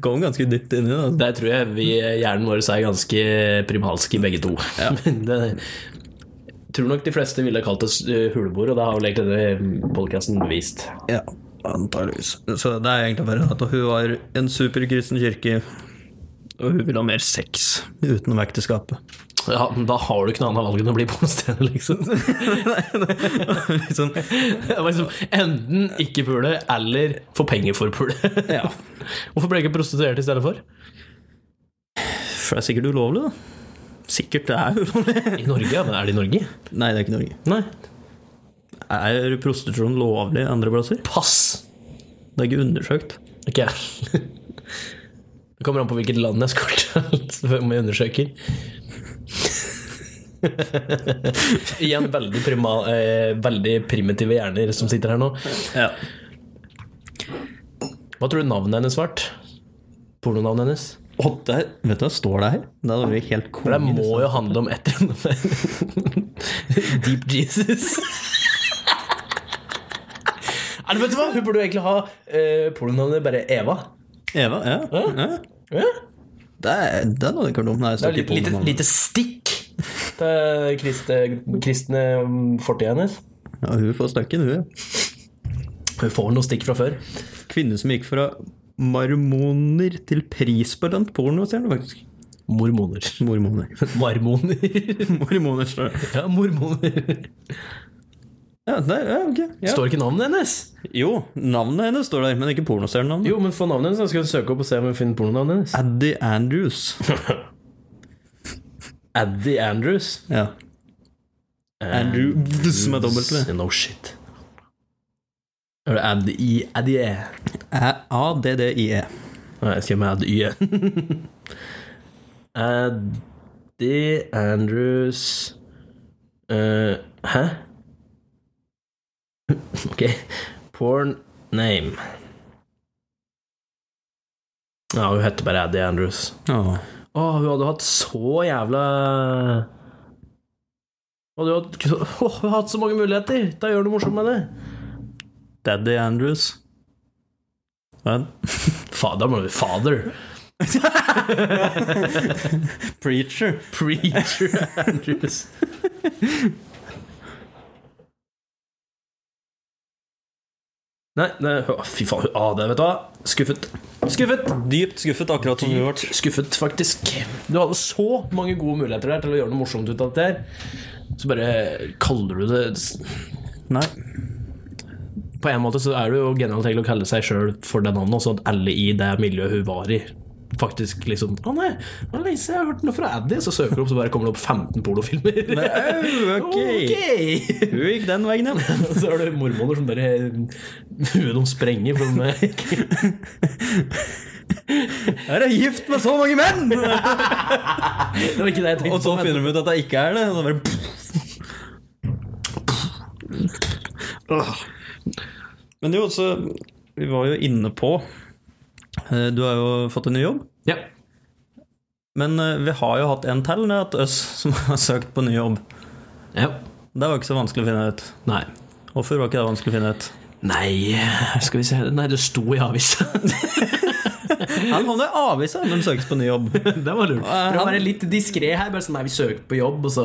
Kom ganske dypt inn i det. altså.
Der tror jeg vi, hjernen vår er ganske primalske begge to. Men det, tror nok de fleste ville kalt oss eh, huleboere, og det har vel egentlig denne podkasten bevist.
Ja, antageligvis. Så det er egentlig bare at hun var en superkristen kirke, og hun ville ha mer sex utenom ekteskapet.
Ja, men da har du ikke noe annet valg enn å bli pornostjerne, liksom.
Liksom,
Det var liksom enten ikke pule, eller få penger for pule.
ja.
Hvorfor ble jeg ikke prostituert i stedet for?
For det er sikkert ulovlig, da. Sikkert det er ulovlig.
I Norge, ja, men er det i Norge?
Nei, det er ikke Norge.
Nei.
Er prostitusjon lovlig andre plasser?
Pass!
Det er ikke undersøkt.
Ok. Det kommer an på hvilket land jeg skal til, om jeg undersøker. Igjen veldig, prima, eh, veldig primitive hjerner som sitter her nå.
Ja.
Hva tror du navnet hennes ble? Pornonavnet hennes?
Og der, vet du hva står det her? Det hadde vært helt
For
konge.
det må jo handle om et eller annet. Deep Jesus. Nei, vet du hva? Hun burde jo egentlig ha eh, pornonavnet bare Eva.
Eva, ja. ja.
Ja.
Det, er, det hadde ikke vært dumt. Nei, det
Det
står
er litt,
ikke
lite,
på noe.
lite stikk til kristne, eh, kristne fortida hennes.
Ja, hun får støkken, hun. ja.
Hun får noe stikk fra før.
Kvinne som gikk fra marmoner til prisbelønt pornostjerne, faktisk.
Mormoner.
Mormoner.
Marmoner.
Mormoner står det.
Ja, mormoner.
Ja, der, ja, ok. Ja.
Står ikke navnet hennes?
Jo, navnet hennes står der, men ikke pornostjernenavnet.
Jo, men få navnet hennes, så skal hun søke opp og se om hun finner pornonavnet hennes.
Addy Andrews.
Addy Andrews.
Ja. Andrews med dobbelt V.
No shit. Er det Addy Addy E?
Æ- A-D-D-I-E.
Nei, jeg skrev med Addy E. Addy Andrews eh, Hæ? Ok. Porn name. Ja, hun heter bare Addy Andrews.
Åh.
Å, hun hadde hatt så jævla Hun hadde hatt, Åh, hun hadde hatt så mange muligheter til å gjøre noe morsomt med det.
Daddy Andrews. Men
Fader, må du Father.
Preacher.
Preacher Andrews. Nei, nei å, fy faen. Å, det vet du hva. Skuffet. Skuffet.
Dypt skuffet, akkurat som vi ble.
Skuffet, faktisk. Du hadde så mange gode muligheter der til å gjøre noe morsomt ut av det her. Så bare kaller du det
Nei.
På en måte så er det jo genialt egentlig å kalle seg sjøl for det navnet, sånn at alle i det miljøet hun var i, faktisk liksom Å nei, Alice, jeg har hørt noe fra Addy, så søker du opp, så bare kommer det opp 15 pornofilmer.
Ok.
Ok.
Hun gikk den veien, ja.
Og så er det mormoner som bare Huet de sprenger eh, for de
Er jeg gift med så mange menn?
Det var ikke det jeg tenkte
Og så
på, men-
finner de ut at jeg ikke er det. Og da bare Men jo, så Vi var jo inne på eh, Du har jo fått en ny jobb.
Ja.
Men eh, vi har jo hatt en til, det er at oss som har søkt på ny jobb.
ja.
Det var ikke så vanskelig å finne ut.
Nei.
Hvorfor var ikke det vanskelig å finne ut?
Nei, skal vi se Nei, det sto i avisa.
Han havna i avisa når han søkte på ny jobb.
Det var lurt.
Eh,
Prøv å
han-
være litt diskré her. Bare sånn, nei, vi søkte på jobb, og så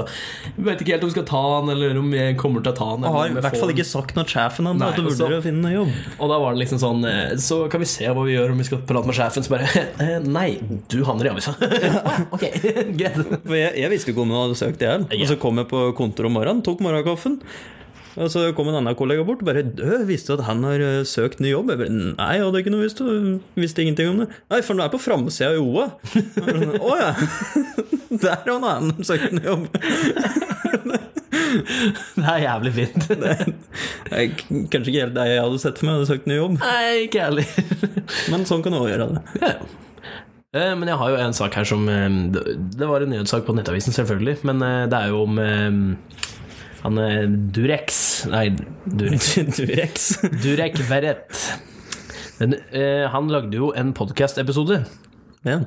Vi vet ikke helt om vi skal ta han, eller om jeg kommer til å ta han.
Og
eller
har
om
i
jeg
hvert
får
fall
han.
ikke sagt noe til sjefen hans
Nei,
at du
og så-
vurderer å finne noe jobb.
Og da var det liksom sånn eh, Så kan vi se hva vi gjør, om vi skal prate med sjefen. Så bare eh, Nei, du havner i avisa. ok, greit.
For jeg, jeg visste ikke om hun hadde søkt det her. Og så kom jeg på kontoret om morgenen, tok morgenkaffen. Og så kom en annen kollega bort og bare «Dø, 'Visste du at han har eh, søkt ny jobb?' Jeg bare 'Nei, jeg hadde ikke noe visst, og visste ingenting om det.' 'Nei, for nå er jeg på framsida i OA.' Jeg bare sånn, Å ja. Der har han annen som søkte ny jobb.
Det er jævlig fint.
Det er k- kanskje ikke helt det jeg hadde sett for meg, hadde søkt ny jobb.
Nei, ikke jeg heller.
Men sånn kan du også gjøre det.
Ja, ja. Eh, Men jeg har jo en sak her som eh, Det det var en nyhetssak på Nettavisen, selvfølgelig. Men eh, det er jo om eh, han eh, Durex Nei, Durex.
Durex.
Durek Verrett. Men, eh, han lagde jo en podkast-episode
Ja.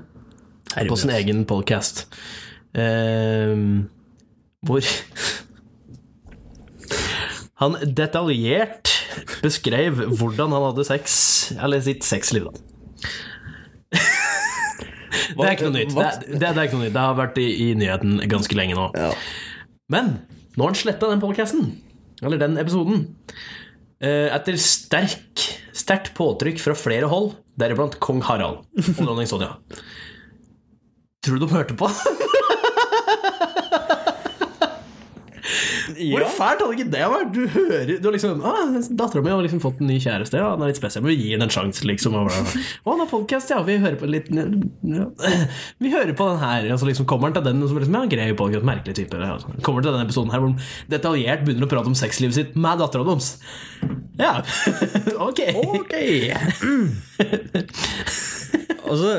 på sin egen podkast. Eh, hvor han detaljert beskrev hvordan han hadde sex, eller sitt sexliv, da. Det er ikke noe nytt. Det,
Hva-
er- det, er- det er ikke noe nytt. Det har vært i, i nyheten ganske lenge nå. Men nå har han sletta den podkasten. Eller den episoden. Eh, Etter sterk, sterkt påtrykk fra flere hold, deriblant kong Harald og dronning Sonja. Tror du de hørte på? Hvor
Ja.
fælt hadde ikke det vært? Du hører du har liksom, ah, Dattera mi har liksom fått en ny kjæreste. Ja, han er litt spesiell, men vi gir den en sjanse, liksom. Og bla, bla. Å, han har podkast, ja. Vi hører på litt ja. Vi hører på den her. Og så liksom kommer han til den, og så blir det liksom, ja, grei podcast, merkelig type. eller, Ja. Kommer til denne episoden her hvor han detaljert begynner å prate om sexlivet sitt med dattera deres. Ja, ok.
Ok Mm. Altså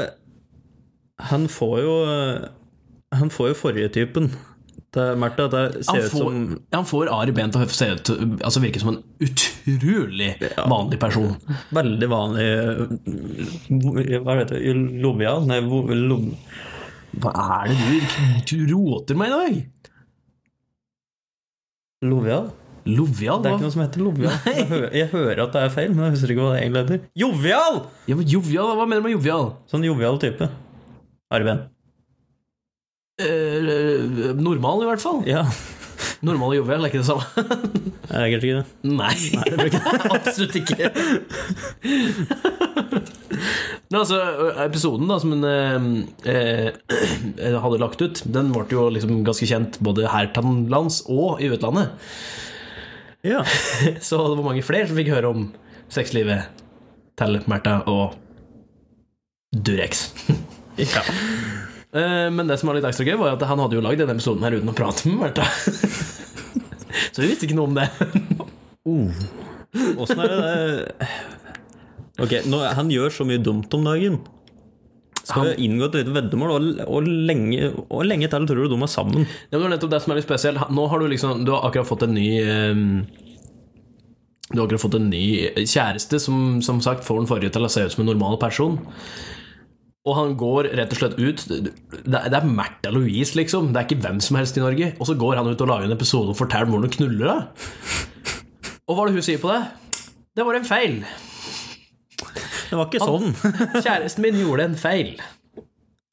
Han får jo Han får jo forrige typen til Märtha. Det
Han
ser ut
får,
som
han får Ari Behn til å se ut Altså virke som en utrolig vanlig person.
veldig vanlig øh, Hva heter det? Lobia? Nei, hvor- lob...
Hva er det du, du roter meg i dag?
Lovia?
Lovial?
Det er
hva?
ikke noe som heter lovia. Jeg hø- Jeg hører at det er feil, men jeg husker ikke hva det egentlig heter. Jovial!
Ja, men jovial? Hva mener du med jovial?
Sånn jovial type. Arven.
Eh, normal, i hvert fall.
Ja,
Normal og jovial er ikke det samme.
det er kanskje ikke det.
Nei, absolutt ikke. Men altså, episoden da som den eh, eh, hadde lagt ut, den ble jo liksom ganske kjent både her til lands og i utlandet.
Ja.
Så det var mange flere som fikk høre om sexlivet til Märtha og Durex.
ja.
Eh, Men det som var litt ekstra gøy, var jo at han hadde jo lagd denne episoden her uten å prate med Märtha. Så vi visste ikke noe om det.
Åssen er det det Ok, nå, Han gjør så mye dumt om dagen. Skal vi inngå et lite veddemål? Og, og, lenge, og lenge til tror du de er sammen?
Ja, men det var nettopp det som er litt spesielt. Nå har du liksom Du har akkurat fått en ny ehm, Du har akkurat fått en ny kjæreste som som sagt får den forrige til å se ut som en normal person. Og han går rett og slett ut Det det er Märtha Louise, liksom. Det er ikke hvem som helst i Norge. Og så går han ut og lager en episode og forteller hvordan hun knuller deg. Og hva er det hun sier på det? Det var en feil.
Det var ikke sånn.
Kjæresten min gjorde en feil.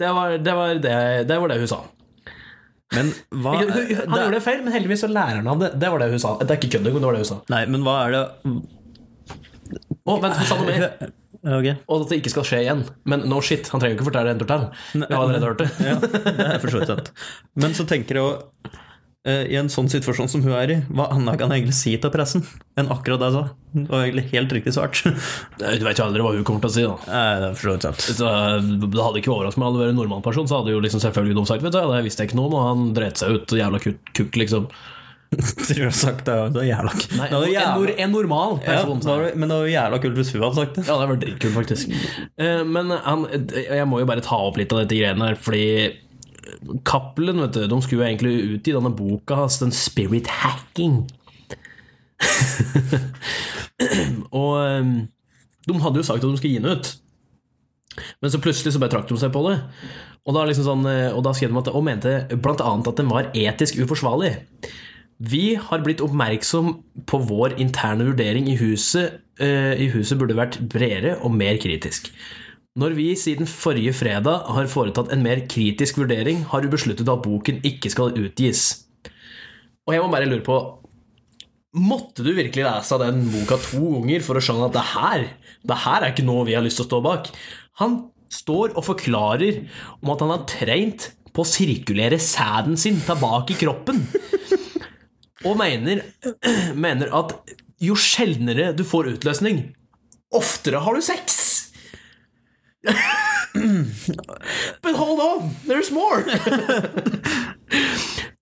Det var det, var det, det, var det hun sa.
Men hva
Hun- hun- Han
det-
gjorde en feil, men heldigvis så lærer han av det. Det var det hun sa. Det er ikke kødd, det var det hun sa.
Nei, men hva er det
Å, vent, hun sa noe mer.
Ok,
Og at det ikke skal skje igjen. Men no shit, han trenger jo ikke fortelle det en tur til. Vi har allerede hørt det.
ja, det er for så vidt sant. Men så tenker jeg jo eh, I en sånn situasjon som hun er i, hva annet kan jeg egentlig si til pressen enn akkurat det jeg sa? Det var egentlig helt riktig svart. Nei,
Du veit jo aldri hva hun kommer til å si, da.
det er for så vidt sant.
Så det hadde ikke overrasket meg. Hadde det vært en nordmann person, så hadde jo liksom selvfølgelig de sagt Vet du, det visste jeg ikke noe om, og han dreit seg ut. og Jævla kuk, kuk liksom.
Tror jeg har sagt det, det er jævla kult.
Nei,
det var
en, nor
jævla,
en normal
ja,
person.
det
sa jeg.
var, men det var jævla kult hvis hun hadde sagt det.
Ja, det var dritkult, faktisk. Eh, Men han, jeg må jo bare ta opp litt av dette greiene her, fordi Cappelen, vet du, de skulle jo egentlig ut i denne boka hans, den Spirit Hacking. Og eh, de hadde jo sagt at de skulle gi den ut. Men så plutselig så bare trakk de seg på det. Og da, liksom sånn, eh, og da skrev de at Og mente blant annet at den var etisk uforsvarlig. Vi har blitt oppmerksom på vår interne vurdering i huset. eh, I huset burde vært bredere og mer kritisk. Når vi siden forrige fredag har foretatt en mer kritisk vurdering, har du besluttet at boken ikke skal utgis. Og jeg må bare lure på Måtte du virkelig lese den boka to ganger for å skjønne at det her, det her er ikke noe vi har lyst til å stå bak? Han står og forklarer om at han har trent på å sirkulere sæden sin tilbake i kroppen. Og mener, mener at jo sjeldnere du får utløsning, oftere har du sex. But hold on, there's more!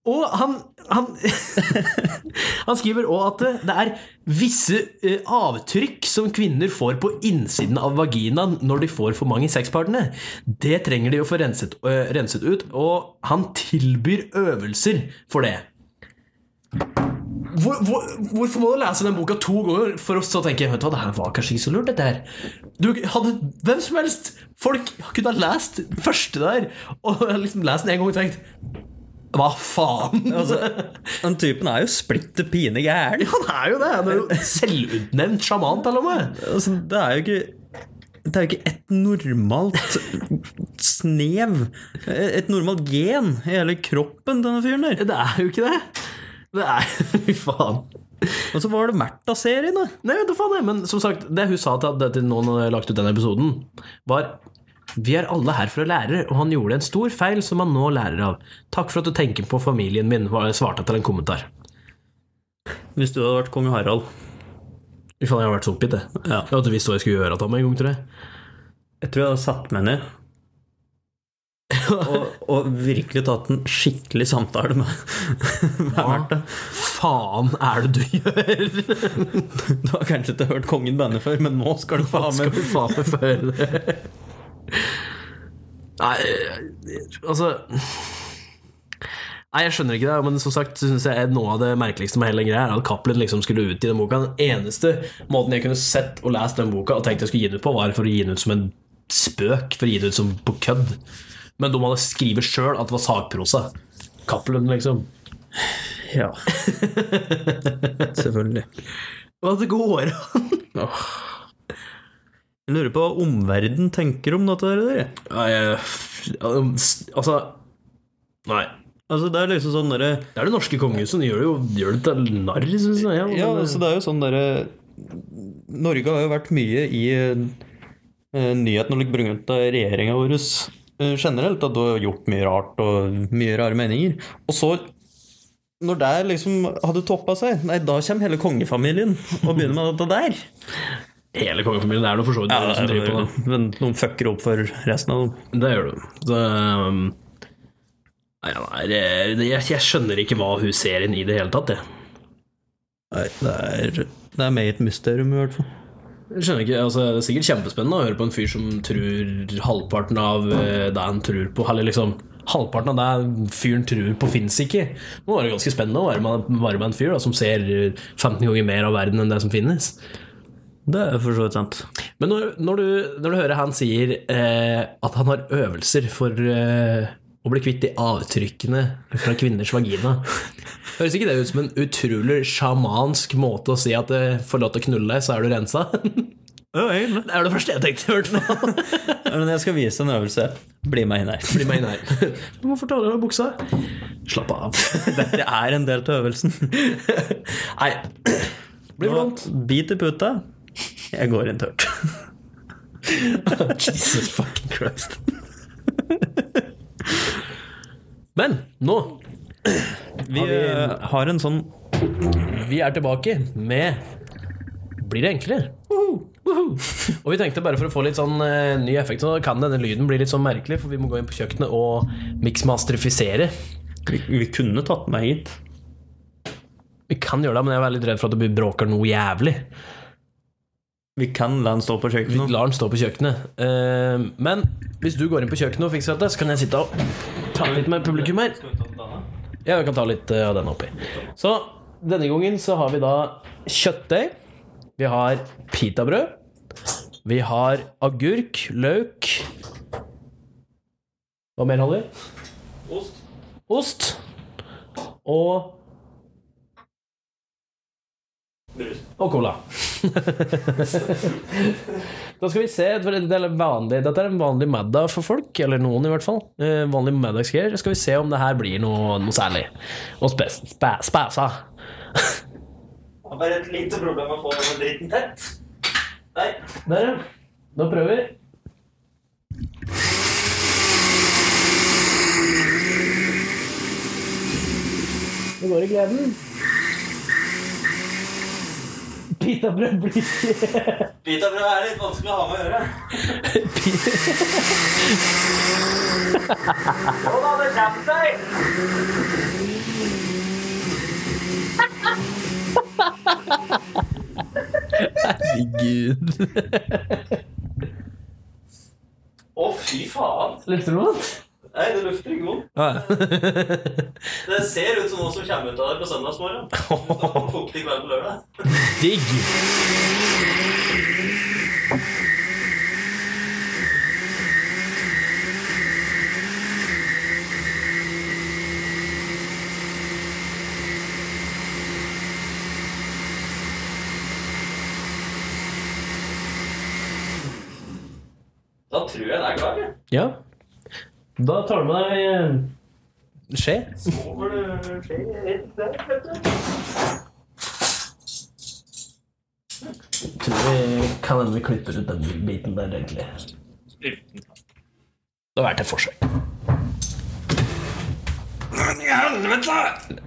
og han, han Han skriver òg at det- det er visse eh, avtrykk som kvinner får på innsiden av vaginaen når de får for mange sexpartnere. Det trenger de å få renset, eh, renset ut, og han tilbyr øvelser for det. Hvor, hvor, hvorfor må du lese den boka to ganger for å så tenke Vet du hva, det her var kanskje ikke så lurt, dette her. Du hadde hvem som helst Folk kunne ha lest den første der, og liksom lest den en gang og tenkt Hva faen?
Den typen er jo splitter pine gæren.
Han er jo det. Han er jo selvutnevnt sjaman, til og med.
Altså, det er jo ikke det er jo ikke et normalt snev, et normalt gen i hele kroppen, denne fyren der.
Det er jo ikke det. Det er Fy faen.
Og så var det Märtha-serien, da.
Nei, vet du faen, jeg. Men som sagt, det hun sa til til noen når jeg lagt ut den episoden, var Vi er alle her for å lære, og han gjorde en stor feil som han nå lærer av. Takk for at du tenker på familien min, var- svarte jeg til en kommentar.
Hvis du hadde vært kong Harald.
Fy faen, jeg har vært så oppgitt, jeg.
Ja.
Jeg hadde visst hva jeg skulle gjøre til ham en gang, tror jeg.
Jeg tror jeg hadde satt meg ned. og, og virkelig tatt en skikkelig samtale med, med Märtha.
Faen er det du gjør?
Du har kanskje ikke hørt kongen banne før, men nå skal du faen
Skal
meg
du faen meg få høre det? Nei, altså Nei, jeg skjønner ikke det, men som sagt så synes jeg noe av det merkeligste med hele den greia er at Cappelen liksom skulle ut i den boka. Den eneste måten jeg kunne sett og lest den boka og tenkt jeg skulle gi den ut på, var for å gi den ut som en spøk, for å gi den ut som på kødd. Men de hadde skrevet sjøl at det var sakprosa. Cappelen, liksom.
Ja. Selvfølgelig.
Og at det går an!
Jeg lurer på hva omverdenen tenker om dette der.
Nei, jeg- altså Nei.
Altså, det er liksom sånn derre
Det er det norske kongehuset. De gjør det jo gjør det til narr, syns jeg. men-
Ja, altså, det er jo sånn derre Norge har jo vært mye i eh, nyhetene og litt brunget av regjeringa vår eh, generelt. At du har gjort mye rart og mye rare meninger. Og så når det liksom hadde toppa seg, nei, da kommer hele kongefamilien og begynner med dette der.
eh, Hele kongefamilien det er noe for så vidt det som driver på det.
Men noen fucker opp for resten av dem.
Det gjør du. Så, um, nei, nei, det- det- jeg, jeg skjønner ikke hva hun ser inn i det hele tatt, jeg.
Nei, det er, det er med i et mysterium, i hvert fall.
Jeg Skjønner ikke, altså, Det er sikkert kjempespennende å høre på en fyr som tror halvparten av eh, det han tror på, eller liksom Halvparten av det fyren tror på, fins ikke. Det må være ganske spennende å være med, være med en fyr da, som ser eh, 15 ganger mer av verden enn det som finnes.
Det er for så vidt sant.
Men når, når, du, når du hører han sier eh, at han har øvelser for eh, å bli kvitt de avtrykkene fra kvinners vagina Høres ikke det ut som en utrolig sjamansk måte å si at eh, får lov til å knulle deg, så er du rensa?
Ja, egentlig.
Det er det første jeg tenkte, i hvert fall.
Men jeg skal vise en øvelse. Bli med inn her.
Bli meg inn her. Du må fortelle deg buksa. Slapp av.
Dette er en del av øvelsen.
Nei. Blir blondt.
Nå, Bit i puta. Jeg går inn tørt.
Jesus fucking Christ. Men nå
Vi eh, har en sånn
Vi er tilbake med Blir det enklere? Uhu. Og vi tenkte bare for å få litt sånn eh, ny effekt, så kan denne lyden bli litt sånn merkelig, for vi må gå inn på kjøkkenet og miksmasterifisere.
Vi, vi kunne tatt meg hit.
Vi kan gjøre det, men jeg er veldig redd for at det bråker noe jævlig.
Vi kan la den stå på
Vi
kjøkkenet.
lar den stå på kjøkkenet. Eh, men hvis du går inn på kjøkkenet og fikser dette, så kan jeg sitte og ta litt med publikum her. Ja, vi kan ta litt eh, av den oppi. Så denne gangen så har vi da kjøttdeig. Vi har pitabrød. Vi har agurk, løk Hva mer har vi? Ost. Og Og cola. Da skal vi se, for det er vanlig, Dette er en vanlig middag for folk, eller noen i hvert fall. Eh, vanlig middagsgreier. Så Skal vi se om det her blir noe, noe særlig. Og spes, spe, spesa.
Bare et lite problem å få den dritten tett. Nei.
Der, ja. Da prøver vi. Det går i gleden. Pitabrød blir
Pitabrød er litt vanskelig å ha med å gjøre. Å da, det kommer seg!
Herregud.
Å, fy faen.
Lukter det noe annet?
Nei, det lukter ikke vondt. Det ser ut som noe som kommer ut av deg på søndagsmorgen. Du skal få fuktig kveld på lørdag.
Digg.
Da tror jeg det er klart. jeg.
Ja. Da tar du med deg skje.
Sover du skje rett der, vet du?
Tror vi kan hende vi klipper ut den biten der, egentlig. Det har vært et forsøk.
Men i helvete!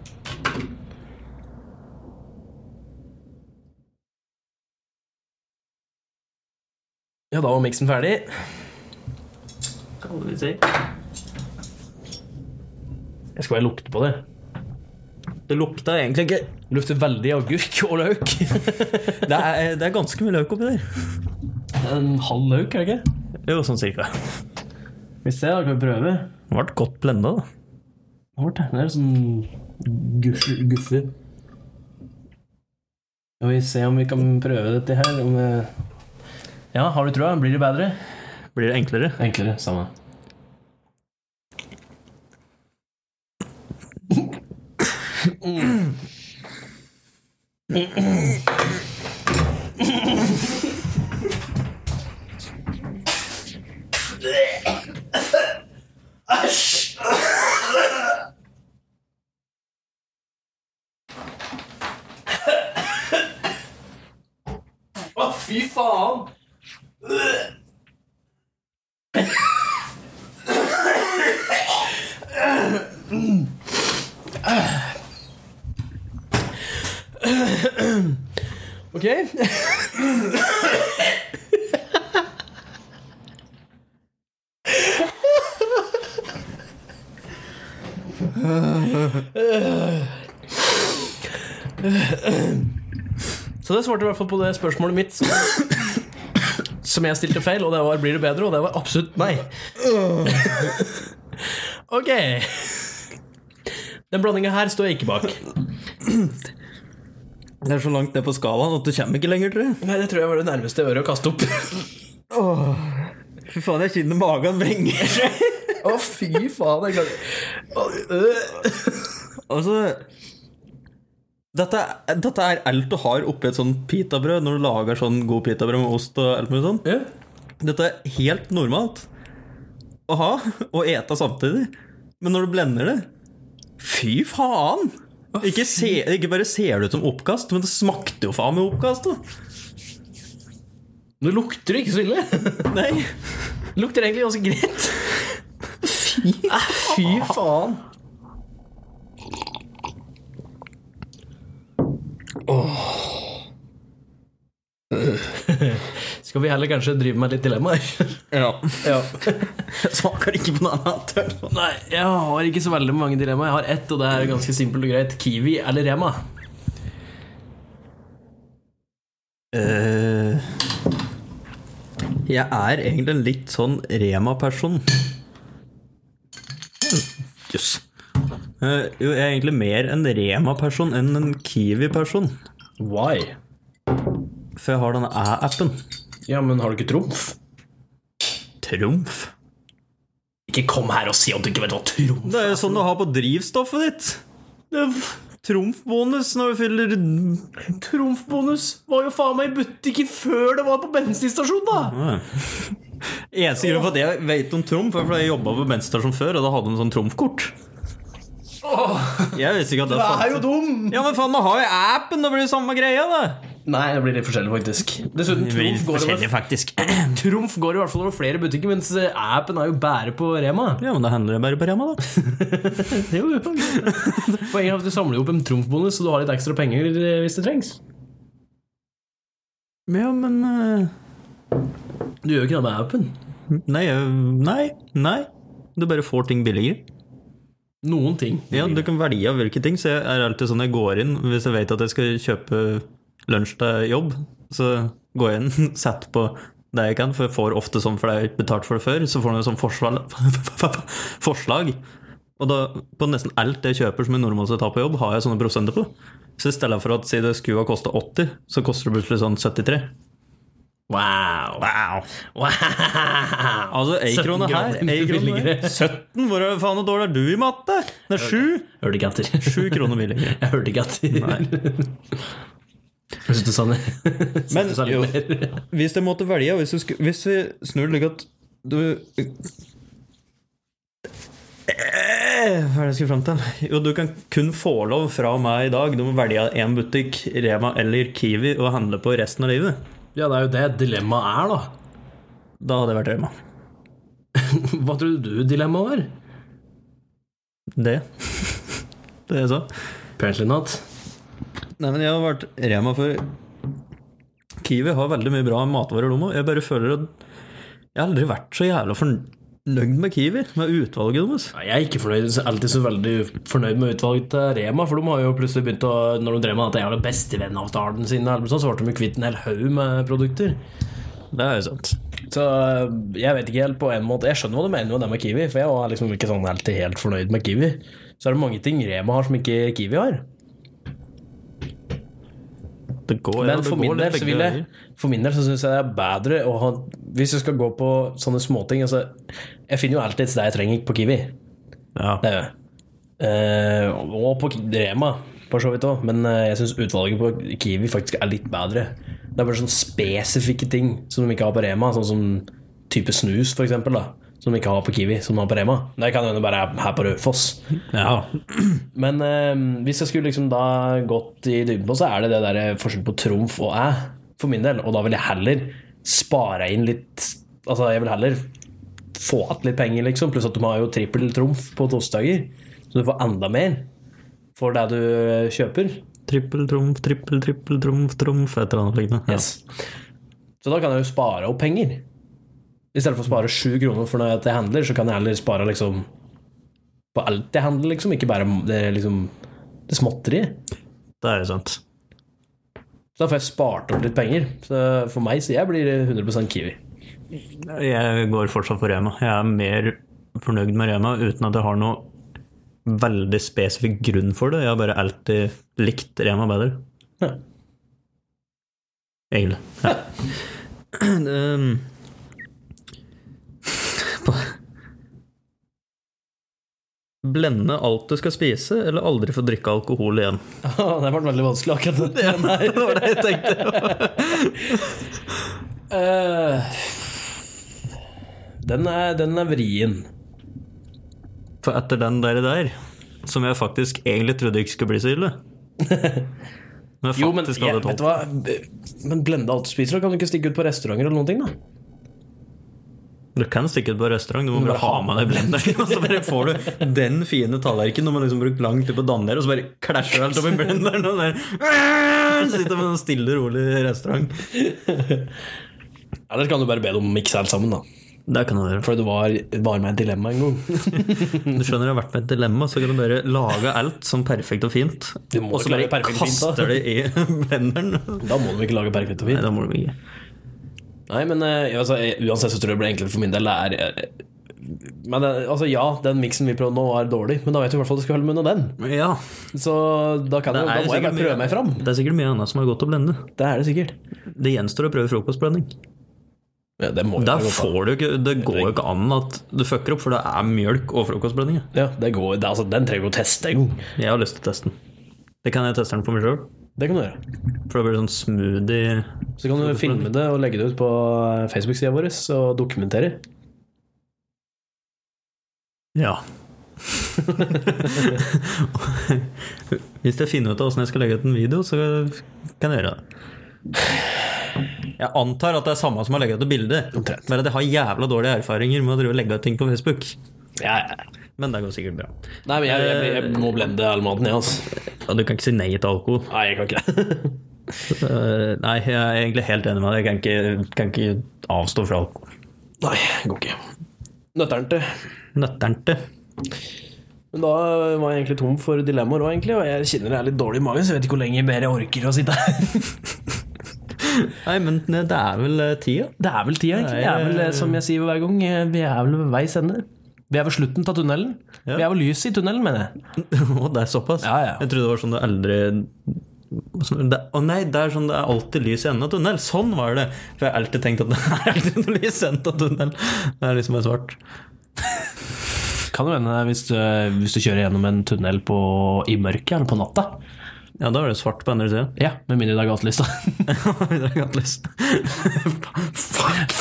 Ja, da var miksen ferdig.
Skal vi si.
Jeg skal bare lukte på det.
Det lukta egentlig ikke
Det Lukter veldig agurk og løk.
det er, det er ganske mye løk oppi der.
en halv løk, er det ikke?
Det var sånn cirka.
Vi ser, da kan vi prøve.
Det ble godt blenda, da.
Hva var det? Det er sånn guff- guffe. Skal vi se om vi kan prøve dette her. Om eh, ja, har du trua? Blir det bedre?
Blir det enklere?
Enklere. Samme. Å, fy faen! Ok. Så det svarte i hvert fall på det spørsmålet mitt som, som jeg stilte feil, og det var 'blir det bedre?' og det var absolutt nei. Ok. Den blandinga her står jeg ikke bak.
Det er så langt ned på skalaen at du kommer ikke lenger, tror jeg.
Nei, det tror jeg var det nærmeste jeg var å kaste opp.
Fy faen, jeg kjenner magen vrenger seg.
Å, fy faen. Jeg klarer Øh.
Altså dette, dette er alt du har oppi et sånn pitabrød når du lager sånn god pitabrød med ost og alt mulig sånn.
Ja.
Dette er helt normalt å ha og ete samtidig. Men når du blender det Fy faen! Ikke, se, ikke bare ser det ut som oppkast, men det smakte jo faen meg oppkast. Da.
Nå lukter det ikke så ille.
Nei.
Det lukter egentlig ganske greit. Fy faen. Skal vi heller kanskje drive med et litt dilemmaer?
Ja.
Ja.
Smaker ikke på noe annet. i hvert fall.
Nei, jeg har ikke så veldig mange dilemmaer. Jeg har ett, og det er ganske simpelt og greit. Kiwi eller Rema?
Eh, jeg er egentlig en litt sånn Rema-person. Jøss. Eh, jo, jeg er egentlig mer en Rema-person enn en Kiwi-person.
Why?
For jeg har denne æ-appen.
Ja, men har du ikke trumf?
Trumf.
Ikke kom her og si at du ikke vet hva trumf
Det er jo sånn du har på drivstoffet ditt. Det er f- Trumfbonus når du fyller
Trumfbonus var jo faen meg i butikken før det var på bensinstasjonen, da!
Eneste grunn for at jeg vet om trumf, er fordi jeg jobba på bensinstasjon før, og da hadde de sånn trumfkort. Jeg visste ikke at det fantes.
jo dum!
Ja, men faen, nå har jo appen, det blir jo samme greia, da.
Nei, det blir litt forskjellig, faktisk. Dessuten, trumf går, over,
faktisk.
trumf går i hvert fall over flere butikker, mens eh, appen er jo bare på Rema.
Ja, men da handler det bare på Rema, da.
Det er jo Poenget er at du samler jo opp en trumfbonus, så du har litt ekstra penger eh, hvis det trengs.
Ja, men eh,
Du gjør jo ikke det med appen.
Nei, eh, nei, nei. Du bare får ting billigere.
Noen ting.
Ja, Du kan velge av hvilke ting. Så jeg er alltid sånn jeg går inn hvis jeg vet at jeg skal kjøpe lunsj til jobb. Så går jeg inn, setter på det jeg kan, for jeg får ofte sånn fordi jeg har betalt for det før. Så får du sånn forslag, forslag. Og da, på nesten alt jeg kjøper som jeg normalt sett tar på jobb, har jeg sånne prosenter på. Så i stedet for at si det skulle ha kosta 80, så koster det plutselig sånn 73.
Wow.
Wow.
wow.
Altså, ei
17
krone her,
kroner
ei krone der.
billigere.
17? Hvor er- faen hvor dårlig er du i matte? Det er sju!
Hørte ikke etter.
Sju kroner billigere.
Jeg hørte ikke etter. Jeg synes du sa det. Synes
Men
du sa litt
jo.
mer.
Hvis jeg måtte velge, hvis, du sku- hvis vi snur det at du Eh, Hva er det jeg skulle fram til? Jo, du kan kun få lov fra meg i dag. Du må velge én butikk, Rema eller Kiwi, og handle på resten av livet.
Ja, det er jo det dilemmaet er, da.
Da hadde jeg vært Rema.
Hva tror du dilemmaet var?
Det. Det jeg sa.
Apparently not.
Nei, men jeg har vært Rema for Kiwi har veldig mye bra matvarer, de òg. Jeg bare føler at Jeg har aldri vært så jævla fornøyd med Kiwi, med utvalget deres.
Nei, Jeg er ikke fornøyd, så alltid så veldig fornøyd med utvalget til Rema, for de har jo plutselig begynt å Når de drev med dette jævla bestevennavtalen sin, eller noe sånt, så ble de jo kvitt en hel haug med produkter.
Det er jo sant.
Så eh, jeg vet ikke helt på en måte Jeg skjønner hva du mener med det med Kiwi, for jeg var liksom ikke sånn alltid helt fornøyd med Kiwi. Så er det mange ting Rema har som ikke Kiwi har.
Det går, ja,
Men
det
for
går
min,
litt
del, så
begge
vil jeg,
veier.
for min del så syns jeg det er bedre å ha Hvis du skal gå på sånne småting altså, Jeg finner jo alltid det jeg trenger på Kiwi.
Ja.
Det gjør jeg. Eh, og på Rema, for så vidt òg. Men eh, jeg syns utvalget på Kiwi faktisk er litt bedre. Det er bare sånne spesifikke ting som de ikke har på Rema. Sånn som type snus, for eksempel, da Som de ikke har på Kiwi, som de har på Rema. Det kan hende bare er her på Raufoss.
ja.
Men eh, hvis jeg skulle liksom da gått i dybden på, så er det det der forskjell på trumf og æ, for min del. Og da vil jeg heller spare inn litt Altså, jeg vil heller få igjen litt penger, liksom. Pluss at du har jo trippel trumf på torsdager, så du får enda mer for det du eh, kjøper.
Trippel trumf, trippel, trippel trumf, trumf, et eller annet lignende. Ja.
Yes. Så da kan jeg jo spare opp penger. I stedet for å spare sju kroner for når jeg handler, så kan jeg heller spare liksom på alt jeg handler, liksom. Ikke bare det, liksom, det småtteriet.
Det er jo sant.
Så da får jeg spart opp litt penger. Så for meg så jeg blir det 100 Kiwi.
Jeg går fortsatt for Rema. Jeg er mer fornøyd med Rema uten at jeg har noe veldig spesifikk grunn for det. Jeg har bare alltid likt Rema bedre.
Ja.
Egentlig. Ja. um, Blende alt du skal spise, eller aldri få drikke alkohol igjen.
det ble veldig vanskelig, akkurat det.
det var det jeg tenkte.
Eh, den, er, den er vrien.
For etter den der, der som jeg faktisk egentlig trodde ikke skulle bli så ille Men
Jo, men,
faktisk
jeg,
hadde
vet
tålt.
du hva? men blende alt du spiser, da kan du ikke stikke ut på restauranter eller noen ting, da?
Du kan stikke ut på restaurant, du må bare ha med deg blenderen. Og så bare får du den fine tallerkenen når man liksom brukt lang tid på å danne der, og så bare klasjer alt oppi blenderen. Og der, sitter med en stille, rolig restaurant.
Eller kan du bare be dem om å mikse alt sammen, da.
Det kan du gjøre.
For det var, var med et dilemma en gang.
Du skjønner, det har vært med et dilemma, så kan du bare lage alt som perfekt og fint,
Du må
og så
klare
bare
perfekt fint, da.
kaster det i blenderen.
Da må de ikke lage perfekt og
Nei,
fint.
da må du ikke.
Nei, men eh, altså, eh, uansett så tror jeg det blir enklere for min del. Det er, eh, men eh, altså, ja, den miksen vi prøvde nå, var dårlig, men da vet du i hvert fall at du skal holde munn av den.
Ja,
Så da, kan jeg,
Det er
da må jeg
sikkert
bare
mye-
prøve meg fram.
det er sikkert mye annet som er godt å blende.
Det er det sikkert.
Det gjenstår å prøve frokostblanding.
Ja, det må jo
Der
være godt, da.
får du ikke, Det går jo ikke an at du fucker opp, for det er mjølk og frokostblanding. ja.
Ja, det går, det, er altså, den trenger du å teste en gang.
Jeg har lyst til å teste den. Det kan jeg teste den for meg sjøl.
Det kan du gjøre.
For det blir sånn smoothie
Så kan du filme det og legge det ut på Facebook-sida vår og dokumentere.
Ja. Hvis jeg finner ut av åssen jeg skal legge ut en video, så kan jeg gjøre det. Jeg antar at det er samme som å legge ut et bilde.
Omtrent.
Bare at jeg har jævla dårlige erfaringer med å drive og legge ut ting på Facebook.
Ja, ja.
Men det går sikkert bra.
Nei, men jeg, jeg, jeg, må blende all maten, jeg, altså.
Ja, du kan ikke si nei til alkohol.
Nei, jeg kan ikke det.
Eh, nei, jeg er egentlig helt enig med deg. Jeg kan ikke, kan ikke avstå fra alkohol.
Nei, det går ikke. Nøtteren til.
Nøtternte.
Men da var jeg egentlig tom for dilemmaer òg, egentlig. Og jeg kjenner det er litt dårlig i magen, så jeg vet ikke hvor lenge mer jeg orker å sitte her.
Nei, men det er vel eh, tida.
Det er vel tida, egentlig. Det er vel, eh, som jeg sier hver gang, eh, vi er vel ved veis ende. Vi er ved slutten av tunnelen.
Ja.
Vi er ved lyset i tunnelen, mener jeg.
Å, det er såpass?
Ja, ja.
Jeg trodde det var sånn det aldri Sånn- det- Å nei, det er sånn det er alltid lys i enden av tunnel. Sånn var det! For jeg har alltid tenkt at det er alltid noe lys i enden av tunnel. Det er liksom bare svart.
Kan jo hende hvis, du- eh, hvis du kjører gjennom en tunnel på, i mørket eller på natta.
Ja, da er det svart på andre sida.
Ja, med mindre det er gatelys, da.
det er ikke lys.
Fuck, fuck.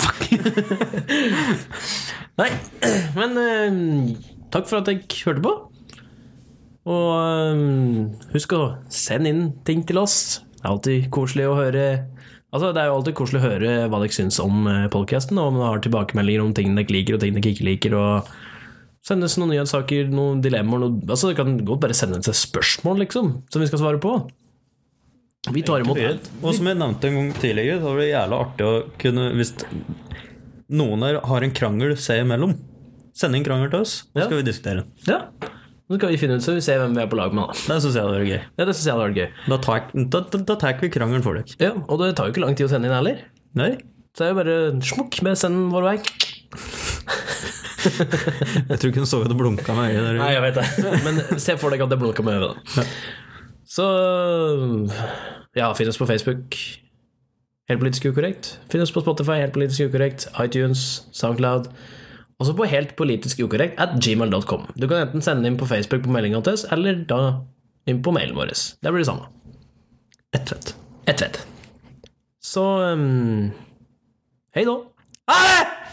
Nei, men eh, takk for at jeg hørte på. Og eh, husk å sende inn ting til oss. Det er alltid koselig å høre Altså, det er jo alltid koselig å høre hva dere syns om podkasten, og om dere har tilbakemeldinger om ting dere liker og ting dere ikke liker. og Sendes noen nyhetssaker, noen dilemmaer noe, altså, Dere kan godt bare sende inn spørsmål, liksom, som vi skal svare på. Vi tar imot alt.
Og som jeg nevnte en gang tidligere, så var det jævla artig å kunne Hvis noen her har en krangel seg imellom, send inn krangel til oss, så
Ja.
skal vi diskutere den.
Ja. Nå skal vi finne ut så vi ser hvem vi er på lag med. Da
Det syns jeg hadde vært gøy.
Ja, Det syns jeg hadde vært gøy.
Da tar, da, da, da tar vi krangelen for dere.
Ja, Og det tar jo ikke lang tid å sende inn heller.
Nei?
Så det er jo bare smukk med 'send vår vei'.
Jeg tror ikke hun så ut og blunka med øyet. der.
jeg vet det. Men se for deg at det blunker med øyet, da. Så ja, finn oss på Facebook. Helt politisk ukorrekt. Finn oss på Spotify, helt politisk ukorrekt, iTunes, Soundcloud. Også på helt politisk ukorrekt at gmail.com. Du kan enten sende inn på Facebook på meldinga til oss, eller da inn på mailen vår. Der blir det samme.
Ett fett.
Jeg vet. Så um, ehm, Hei da.
Ha det!